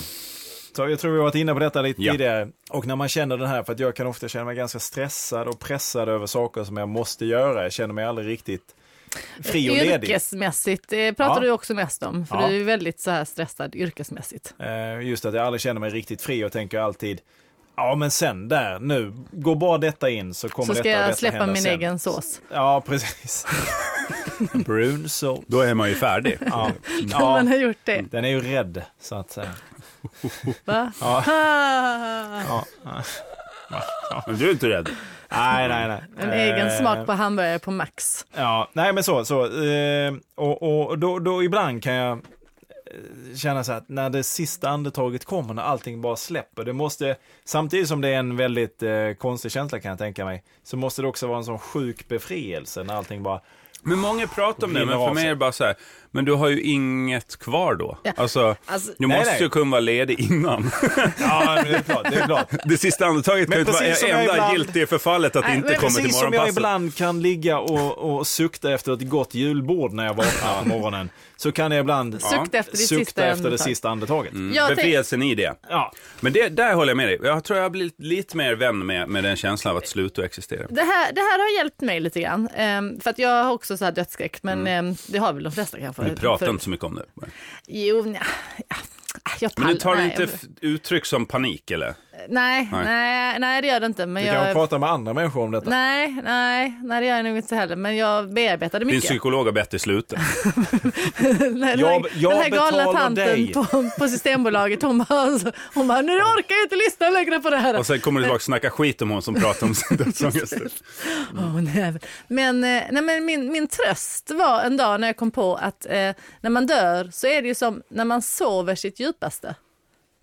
Speaker 2: Så jag tror vi har varit inne på detta lite
Speaker 1: Ja.
Speaker 2: tidigare. Och när man känner den här, för att jag kan ofta känna mig ganska stressad och pressad över saker som jag måste göra. Jag känner mig aldrig riktigt fri och ledig.
Speaker 3: Yrkesmässigt eh, pratar
Speaker 2: Ja.
Speaker 3: du också mest om, för
Speaker 2: Ja.
Speaker 3: du är ju väldigt så här stressad yrkesmässigt.
Speaker 2: Eh, Just att jag aldrig känner mig riktigt fri och tänker alltid Ja men sen där, nu, går bara detta in så kommer
Speaker 3: Så ska
Speaker 2: detta
Speaker 3: jag
Speaker 2: detta
Speaker 3: släppa
Speaker 2: hända
Speaker 3: min
Speaker 2: sen.
Speaker 3: egen sås.
Speaker 2: Ja precis. Brun
Speaker 3: [laughs]
Speaker 2: så.
Speaker 1: Då är man ju färdig.
Speaker 2: [laughs] Ja.
Speaker 3: Om [laughs] man
Speaker 2: ja,
Speaker 3: har gjort det.
Speaker 2: den är ju rädd så att säga.
Speaker 3: Va?
Speaker 2: Ja.
Speaker 1: Men du är inte rädd.
Speaker 2: Nej nej nej.
Speaker 3: [laughs] En
Speaker 2: Eh,
Speaker 3: egen smak på hamburgare på max.
Speaker 2: Ja, nej men så. så eh, och och då, då ibland kan jag eh, känna så här att när det sista andetaget kommer, när allting bara släpper, det måste, samtidigt som det är en väldigt eh, konstig känsla kan jag tänka mig, så måste det också vara en sån sjuk befrielse när allting bara,
Speaker 1: Men många pratar om det,
Speaker 2: Rinner
Speaker 1: men för
Speaker 2: av
Speaker 1: mig
Speaker 2: sig.
Speaker 1: är det bara så här. Men du har ju inget kvar då.
Speaker 3: Ja.
Speaker 1: Alltså,
Speaker 3: Alltså-
Speaker 1: du
Speaker 2: Nej,
Speaker 1: måste
Speaker 2: nej.
Speaker 1: ju kunna vara ledig
Speaker 2: [laughs]
Speaker 1: innan.
Speaker 2: Ja, men det är klart. [laughs] Det är klart.
Speaker 1: Det sista andetaget kan ju
Speaker 2: Men
Speaker 1: inte vara
Speaker 2: precis som jag
Speaker 1: enda
Speaker 2: ibland-
Speaker 1: giltiga förfallet att
Speaker 3: Nej,
Speaker 1: inte
Speaker 3: men
Speaker 1: komma till
Speaker 2: Precis som jag
Speaker 1: morgonpasset.
Speaker 2: ibland kan ligga och, och sukta efter ett gott julbord när jag vaknar på morgonen, så kan jag ibland
Speaker 3: Sukta efter ditt
Speaker 2: sukta
Speaker 3: sista
Speaker 2: efter det
Speaker 3: andetag.
Speaker 2: sista andetaget.
Speaker 3: Jag tänk-
Speaker 1: Befrielsen i det.
Speaker 2: Ja.
Speaker 1: Men det, där håller jag med dig. Jag tror jag har blivit lite mer vän med, med den känslan av att sluta existera.
Speaker 3: det, här, det här har hjälpt mig lite grann. Ehm, för att jag har också så här dödsskräck, men ehm, det har väl de flesta kanske.
Speaker 1: Vi pratar
Speaker 3: För-
Speaker 1: inte så mycket om det.
Speaker 3: Jo, nja, ja. Ah, Jag
Speaker 1: Men du tar
Speaker 3: pallar-
Speaker 1: inte
Speaker 3: nej,
Speaker 1: f- uttryck som panik eller?
Speaker 3: Nej,
Speaker 1: Nej.
Speaker 3: nej, nej, det gör det inte. Men
Speaker 2: Du kan
Speaker 3: jag,
Speaker 2: prata med andra människor om detta.
Speaker 3: nej, nej, nej, det gör jag nog inte heller. Men jag bearbetade
Speaker 1: Din
Speaker 3: mycket.
Speaker 1: psykolog har bett i slutet.
Speaker 3: [laughs] Den här,
Speaker 2: Jag- jag
Speaker 3: den här galna
Speaker 2: betalar
Speaker 3: tanten
Speaker 2: dig.
Speaker 3: på, på Systembolaget, hon bara, hon bara, nu orkar jag inte lyssna längre på det här.
Speaker 1: [laughs] Och sen kommer du tillbaka och snackar skit om hon som pratar
Speaker 3: [laughs]
Speaker 1: om sin dödsångest.
Speaker 3: Åh, nej. Men, eh, nej, men min, min tröst var en dag när jag kom på att eh, när man dör så är det ju som när man sover sitt djupaste.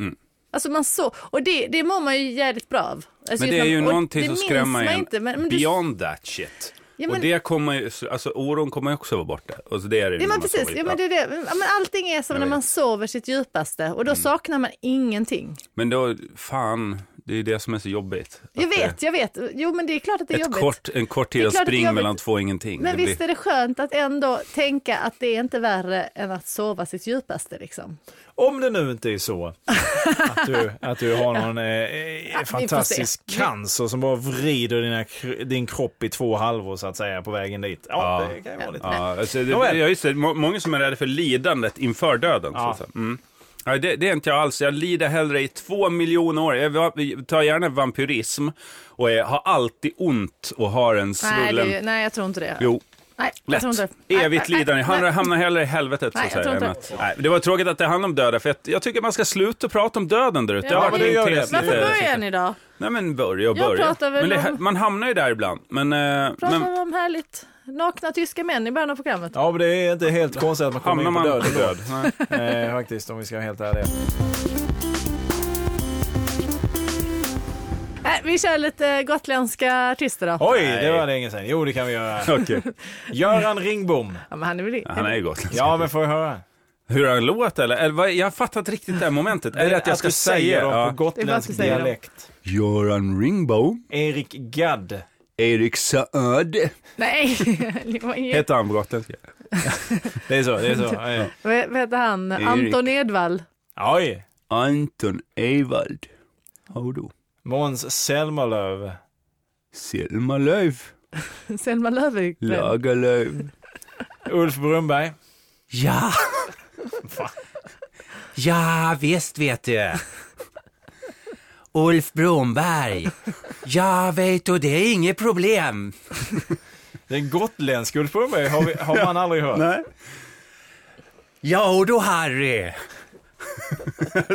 Speaker 1: Mm.
Speaker 3: Alltså man så, och det, det mår man ju jävligt bra av. Alltså
Speaker 1: Men
Speaker 3: just
Speaker 1: det är
Speaker 3: när-
Speaker 1: ju
Speaker 3: och
Speaker 1: någonting
Speaker 3: det
Speaker 1: som
Speaker 3: minns
Speaker 1: skrämmer
Speaker 3: man
Speaker 1: en
Speaker 3: Inte, men, men du,
Speaker 1: beyond that shit.
Speaker 3: Ja,
Speaker 1: och
Speaker 3: men-
Speaker 1: det kommer ju, alltså oron kommer ju också vara borta. Och så det är det ju när
Speaker 3: ja, men
Speaker 1: man
Speaker 3: precis,
Speaker 1: sover.
Speaker 3: ja, men det är det. Ja, men allting är som när man sover sitt djupaste och då
Speaker 1: Mm.
Speaker 3: saknar man ingenting.
Speaker 1: Men då, fan, det är ju det som är så jobbigt.
Speaker 3: Jag
Speaker 1: Att eh,
Speaker 3: vet, jag vet. Jo men det är klart att det är
Speaker 1: Ett
Speaker 3: jobbigt.
Speaker 1: Kort, en kort
Speaker 3: Det
Speaker 1: tid
Speaker 3: är
Speaker 1: att
Speaker 3: klart att det är
Speaker 1: springa
Speaker 3: jobbigt.
Speaker 1: mellan två ingenting.
Speaker 3: Men
Speaker 1: det
Speaker 3: visst är det skönt att ändå tänka att det är inte värre än att sova sitt djupaste liksom.
Speaker 2: Om det nu inte är så att du, att du har någon eh, fantastisk
Speaker 3: se.
Speaker 2: cancer som bara vrider dina, kr- din kropp i två halvor så att säga på vägen dit. Ja,
Speaker 1: Ja.
Speaker 2: det kan ju vara lite.
Speaker 1: Ja, alltså, det, ja,
Speaker 2: Nåväl.
Speaker 1: just det. Må- Många som är rädda för lidandet inför döden.
Speaker 2: Ja.
Speaker 1: Så att säga. Mm. Ja, det, det är inte jag alls. Jag lider hellre i två miljoner år. Jag va- tar gärna vampyrism och är, har alltid ont och har en
Speaker 3: Nej, det
Speaker 1: svullen...
Speaker 3: är ju, nej jag tror inte det.
Speaker 1: Jo.
Speaker 3: Nej, jag
Speaker 1: Lätt.
Speaker 3: tror inte det.
Speaker 1: Evigt
Speaker 3: Nej, nej,
Speaker 1: lidande.
Speaker 3: nej.
Speaker 1: Han hamnar hellre i helvetet.
Speaker 3: Nej,
Speaker 1: så
Speaker 3: jag
Speaker 1: att säga,
Speaker 3: tror
Speaker 1: än
Speaker 3: inte
Speaker 1: att, nej, det var tråkigt att det handlade om döda, för jag, jag tycker man ska sluta prata om döden där ute.
Speaker 3: Ja,
Speaker 1: Det har
Speaker 3: men
Speaker 1: varit
Speaker 3: det
Speaker 1: min
Speaker 2: gör det.
Speaker 1: tes
Speaker 3: Varför
Speaker 1: lite-
Speaker 3: börjar ni då?
Speaker 1: Nej, men börja och
Speaker 3: Jag
Speaker 1: börja.
Speaker 3: pratar väl
Speaker 1: Men det,
Speaker 3: om-
Speaker 1: man hamnar ju där ibland. Men, eh,
Speaker 3: Pratar
Speaker 1: men
Speaker 3: vi om härligt nakna tyska män i början av programmet?
Speaker 2: Ja, men det är inte helt konstigt att man kommer
Speaker 1: hamnar
Speaker 2: in på
Speaker 1: man
Speaker 2: döden.
Speaker 1: på död? Nej.
Speaker 2: eh, faktiskt, om vi ska vara helt ärliga.
Speaker 3: Nej, vi kör lite gotländska artister då.
Speaker 2: Oj,
Speaker 1: Nej.
Speaker 2: det var länge sedan. Jo, det kan vi göra.
Speaker 1: [laughs] Okej.
Speaker 2: Göran Ringbom.
Speaker 3: Ja, men han är väl
Speaker 1: Ja, Han är ju
Speaker 3: [laughs]
Speaker 1: gotländsk.
Speaker 2: Ja, men får jag höra?
Speaker 1: Hur han låter eller? eller vad, jag har fattat riktigt det här momentet. Är det att jag ska
Speaker 2: du
Speaker 1: säga?
Speaker 2: säger dem
Speaker 1: Ja.
Speaker 2: på
Speaker 3: Det är bara att du
Speaker 2: gotländsk
Speaker 3: säger dem.
Speaker 2: dialekt.
Speaker 1: Göran Ringbaum,
Speaker 2: Erik Gadd.
Speaker 1: Erik Saad.
Speaker 3: Nej, [laughs] det var inget.
Speaker 1: Heter han på gotländska?
Speaker 2: Det är så, det är
Speaker 3: [laughs]
Speaker 2: så. Eh,
Speaker 3: Vad vad heter han?
Speaker 1: Erik.
Speaker 3: Anton Edvall. [laughs]
Speaker 2: Oj,
Speaker 1: Anton Ewald. Hallå.
Speaker 2: Måns Zelmerlöw.
Speaker 1: Selma Löf.
Speaker 3: Selma Löfvik.
Speaker 1: Löf.
Speaker 2: Ulf Brunberg.
Speaker 1: Ja. Ja, visst vet du. Ulf Bromberg. Ja, vet du, det är inget problem.
Speaker 2: Den gotländska Ulf Brunberg har, vi, har man aldrig hört.
Speaker 1: Nej. Ja, och då Harry.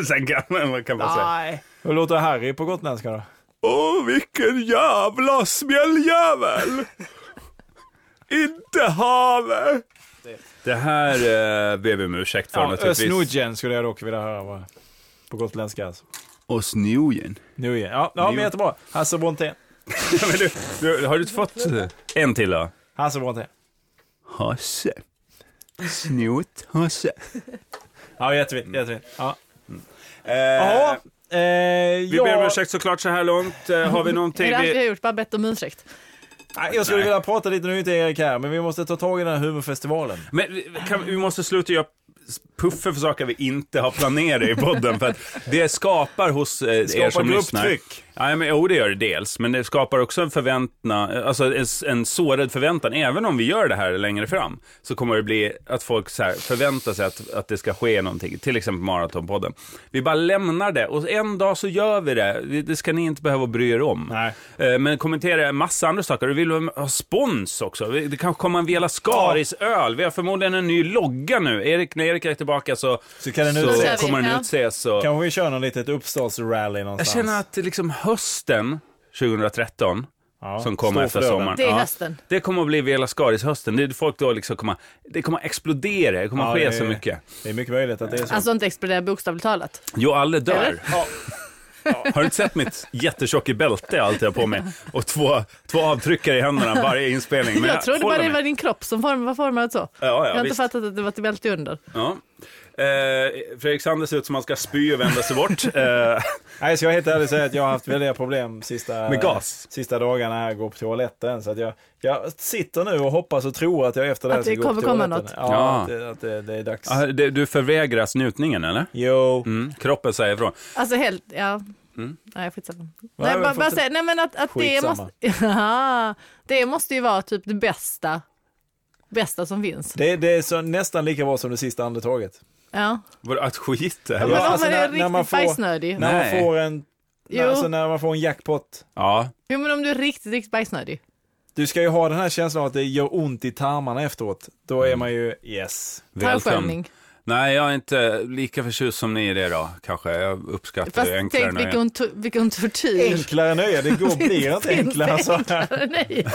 Speaker 1: Sen gammal, vad kan man säga?
Speaker 2: Nej. Alltså. Hur låter Harry på gotländska då?
Speaker 1: Åh, vilken jävla smälljävel! Inte have! Det här eh, ber vi om ursäkt för
Speaker 2: Ja,
Speaker 1: naturligtvis.
Speaker 2: Ösnudgen skulle jag dock vilja höra vad, på gotländska. Alltså.
Speaker 1: Ösnojen.
Speaker 2: Nu igen. Ja, ja men
Speaker 1: Jo.
Speaker 2: jättebra.
Speaker 1: [laughs]
Speaker 2: Hasse Brontén.
Speaker 1: du, du, har du inte fått en till då?
Speaker 2: Hasse Brontén.
Speaker 1: Hasse. Snot-Hasse.
Speaker 2: Ja, jättefint. jättefint. Ja.
Speaker 1: Mm. Eh,
Speaker 2: Jaha. Eh,
Speaker 1: vi ber om
Speaker 2: jag-
Speaker 1: ursäkt såklart så här långt. Eh, har vi
Speaker 3: Är
Speaker 1: någonting?
Speaker 3: det allt vi
Speaker 1: Vi...
Speaker 3: har gjort? Bara bett om ursäkt.
Speaker 2: Nej, Jag skulle
Speaker 1: Nej.
Speaker 2: vilja prata lite, nu är inte Erik här, men vi måste ta tag i den här humorfestivalen.
Speaker 1: Men, vi- kan, vi måste sluta göra puffer för saker vi inte har planerat i podden. För att det skapar hos eh, er som lyssnar. Nej, men, jo, det gör det dels, men det skapar också en förväntna, alltså en, en sårad förväntan. Även om vi gör det här längre fram, så kommer det bli att folk så här förväntar sig att, att det ska ske någonting, till exempel Maratonpodden. Vi bara lämnar det, och en dag så gör vi det. Vi- Det ska ni inte behöva bry er om.
Speaker 2: Nej.
Speaker 1: Eh, Men kommentera en massa andra saker. Vi vill ha spons också. Vi- Det kanske kommer en Vela Skaris öl. Vi har förmodligen en ny logga nu. Erik, när Erik är tillbaka så,
Speaker 2: Så kan den
Speaker 1: så
Speaker 2: utses.
Speaker 1: kommer den
Speaker 3: Ja.
Speaker 1: utses. Och...
Speaker 2: Kanske vi kör någon litet uppstartsrally
Speaker 1: Jag
Speaker 2: någonstans.
Speaker 1: känner att liksom hösten 2013,
Speaker 2: Ja,
Speaker 1: som kommer
Speaker 2: står
Speaker 1: efter
Speaker 2: för dörren.
Speaker 1: sommaren.
Speaker 3: Det är
Speaker 1: ja,
Speaker 3: hösten.
Speaker 1: Det kommer att bli Vela Skaris-hösten. Det, är folk då liksom kommer, det kommer att explodera, det kommer
Speaker 2: Ja,
Speaker 1: att ske
Speaker 2: det-
Speaker 1: så mycket.
Speaker 2: Det är mycket möjligt att det är så.
Speaker 3: Alltså inte explodera bokstavligt talat.
Speaker 1: [laughs] Jo, alla dör.
Speaker 3: Eller?
Speaker 2: Ja.
Speaker 1: Har du inte sett mitt jättetjocka bälte jag alltid har på mig? Och två, två avtryckare i händerna varje inspelning.
Speaker 3: jag, trodde bara
Speaker 1: håller
Speaker 3: det var
Speaker 1: mig.
Speaker 3: din kropp som form, var formad så.
Speaker 1: ja,
Speaker 3: jag har inte
Speaker 1: visst.
Speaker 3: fattat att det var ett bälte under.
Speaker 1: Ja. Eh, Fredrik Sander ser ut som han ska spy och vända sig
Speaker 3: [laughs]
Speaker 1: bort. Eh,
Speaker 2: Nej, så jag helt ärligt säga att jag har haft väldiga problem sista,
Speaker 1: Med gas?
Speaker 2: sista dagarna här, gå på toaletten. Så att jag, jag sitter nu och hoppas och tror att jag efter det här
Speaker 3: Att
Speaker 2: ska gå
Speaker 3: det
Speaker 2: på
Speaker 3: kommer komma
Speaker 2: toaletten.
Speaker 3: något.
Speaker 2: Ja,
Speaker 1: Ja.
Speaker 2: Att, det, att det, det är dags.
Speaker 1: ah, det- du förvägras njutningen eller?
Speaker 2: Jo.
Speaker 1: Mm, kroppen säger ifrån.
Speaker 3: Alltså helt, ja.
Speaker 1: Mm.
Speaker 3: Nej, skitsamma. Nej,
Speaker 2: men
Speaker 3: bara, bara
Speaker 2: fortsätt.
Speaker 3: säga, nej men att, att det
Speaker 2: Skitsamma.
Speaker 3: måste, [laughs] ja, det måste ju vara typ det bästa, bästa som finns.
Speaker 2: Det, det är så, nästan lika bra som det sista andetaget.
Speaker 3: Ja.
Speaker 1: Var det att skit
Speaker 2: Ja,
Speaker 1: eller?
Speaker 3: Men
Speaker 1: Ja.
Speaker 3: om
Speaker 2: alltså
Speaker 3: man
Speaker 2: när-
Speaker 3: är
Speaker 2: när
Speaker 3: riktigt
Speaker 2: man får-
Speaker 3: bajsnödig.
Speaker 2: När
Speaker 1: Nej.
Speaker 2: man, får en,
Speaker 3: Jo.
Speaker 2: alltså, när man får en jackpot.
Speaker 3: Jo men om du är riktigt, riktigt bajsnödig.
Speaker 2: Du ska ju ha den här känslan av att det gör ont i tarmarna efteråt. Då
Speaker 1: Mm.
Speaker 2: är man ju yes.
Speaker 1: välkommen.
Speaker 3: Tarmsköljning.
Speaker 1: Nej, jag är inte lika förtjust som ni i det då, kanske. Jag uppskattar
Speaker 3: Fast
Speaker 1: det enklare
Speaker 3: tänk
Speaker 1: nöjen.
Speaker 3: vilken, to- vilken tortyr.
Speaker 2: Enklare nöje, det går, blir inte enklare så här.
Speaker 3: [laughs] Nej,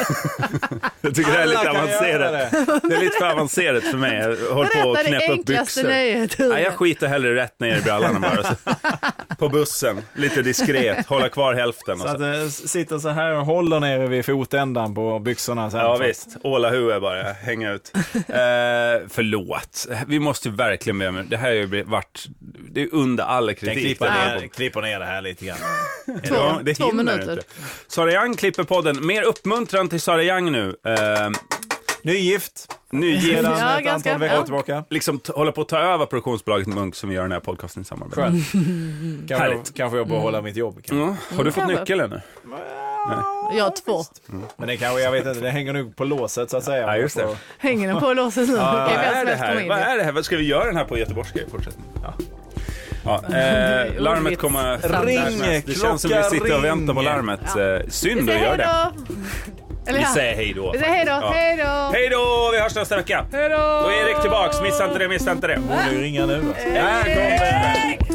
Speaker 1: Jag tycker det här är lite
Speaker 2: Alla kan göra
Speaker 1: avancerat. Det är lite för avancerat för mig. Jag håller på
Speaker 3: berätta
Speaker 1: att
Speaker 3: det
Speaker 1: knäppa upp
Speaker 3: enklaste
Speaker 1: byxor.
Speaker 3: nöjet.
Speaker 1: Nej, jag skiter hellre rätt ner i brallorna bara.
Speaker 3: [laughs]
Speaker 1: Så. På bussen, lite diskret, hålla kvar hälften.
Speaker 2: Så
Speaker 1: Och så.
Speaker 2: att den sitter så här och håller nere vid fotändan på byxorna. Så här.
Speaker 1: Ja
Speaker 3: Alltså.
Speaker 1: visst, ålahue bara, hänga
Speaker 3: [laughs]
Speaker 1: ut. Eh, förlåt, vi måste ju verkligen be om Det här har ju blivit- varit, det är under all
Speaker 2: Jag
Speaker 1: kritik.
Speaker 2: klipper
Speaker 1: den här
Speaker 2: ner, klipper ner det här lite grann.
Speaker 3: Två,
Speaker 1: Ja, det
Speaker 3: två
Speaker 1: hinner
Speaker 3: minuter.
Speaker 1: Inte. Sara Young klipper podden. Mer uppmuntran till Sara Young nu. Eh,
Speaker 2: Nygift,
Speaker 1: nygift.
Speaker 2: sedan
Speaker 3: Ja,
Speaker 2: ett
Speaker 3: ganska-
Speaker 2: antal veckor
Speaker 3: ja.
Speaker 2: tillbaka.
Speaker 1: Liksom t- hålla på att ta över produktionsbolaget Munk som vi gör den här podcasten i samarbete.
Speaker 2: Skönt. [laughs] Kanske, jag,
Speaker 1: Härligt.
Speaker 2: kanske jag behåller mitt jobb. kanske.
Speaker 1: Ja, har du fått
Speaker 3: Mm.
Speaker 1: nyckel ännu?
Speaker 3: Jag har två.
Speaker 2: Mm. Men det kanske, jag vet inte, det hänger nog på låset så att säga.
Speaker 1: Ja, just det.
Speaker 2: Och-
Speaker 3: Hänger den på och låses nu? Okej,
Speaker 1: Vad
Speaker 3: vem som
Speaker 1: är det
Speaker 3: helst kommer
Speaker 1: här?
Speaker 3: in
Speaker 1: Vad
Speaker 3: i.
Speaker 1: är det här? Vad Ska vi göra den här på göteborgska i fortsättningen? Ja. Ja,
Speaker 3: är
Speaker 1: eh, larmet
Speaker 3: ordvits.
Speaker 1: kommer fram
Speaker 2: Ring,
Speaker 1: när som helst. Det
Speaker 2: klocka
Speaker 1: känns som vi sitter och väntar på
Speaker 2: ringer.
Speaker 1: larmet. Eh,
Speaker 3: Vi
Speaker 1: Synd att
Speaker 3: säger
Speaker 1: göra
Speaker 3: hej
Speaker 1: det.
Speaker 3: då. Eller
Speaker 1: Vi
Speaker 3: ja,
Speaker 1: säger hej då.
Speaker 3: vi säger hej då.
Speaker 1: Ja.
Speaker 3: Hej då.
Speaker 1: Hej då! Vi hörs nästa vecka.
Speaker 3: Hej då.
Speaker 1: Då är Erik tillbaks. Missa inte det, missa inte det.
Speaker 2: Borde ju ringa nu. alltså. va?
Speaker 1: Här kommer den.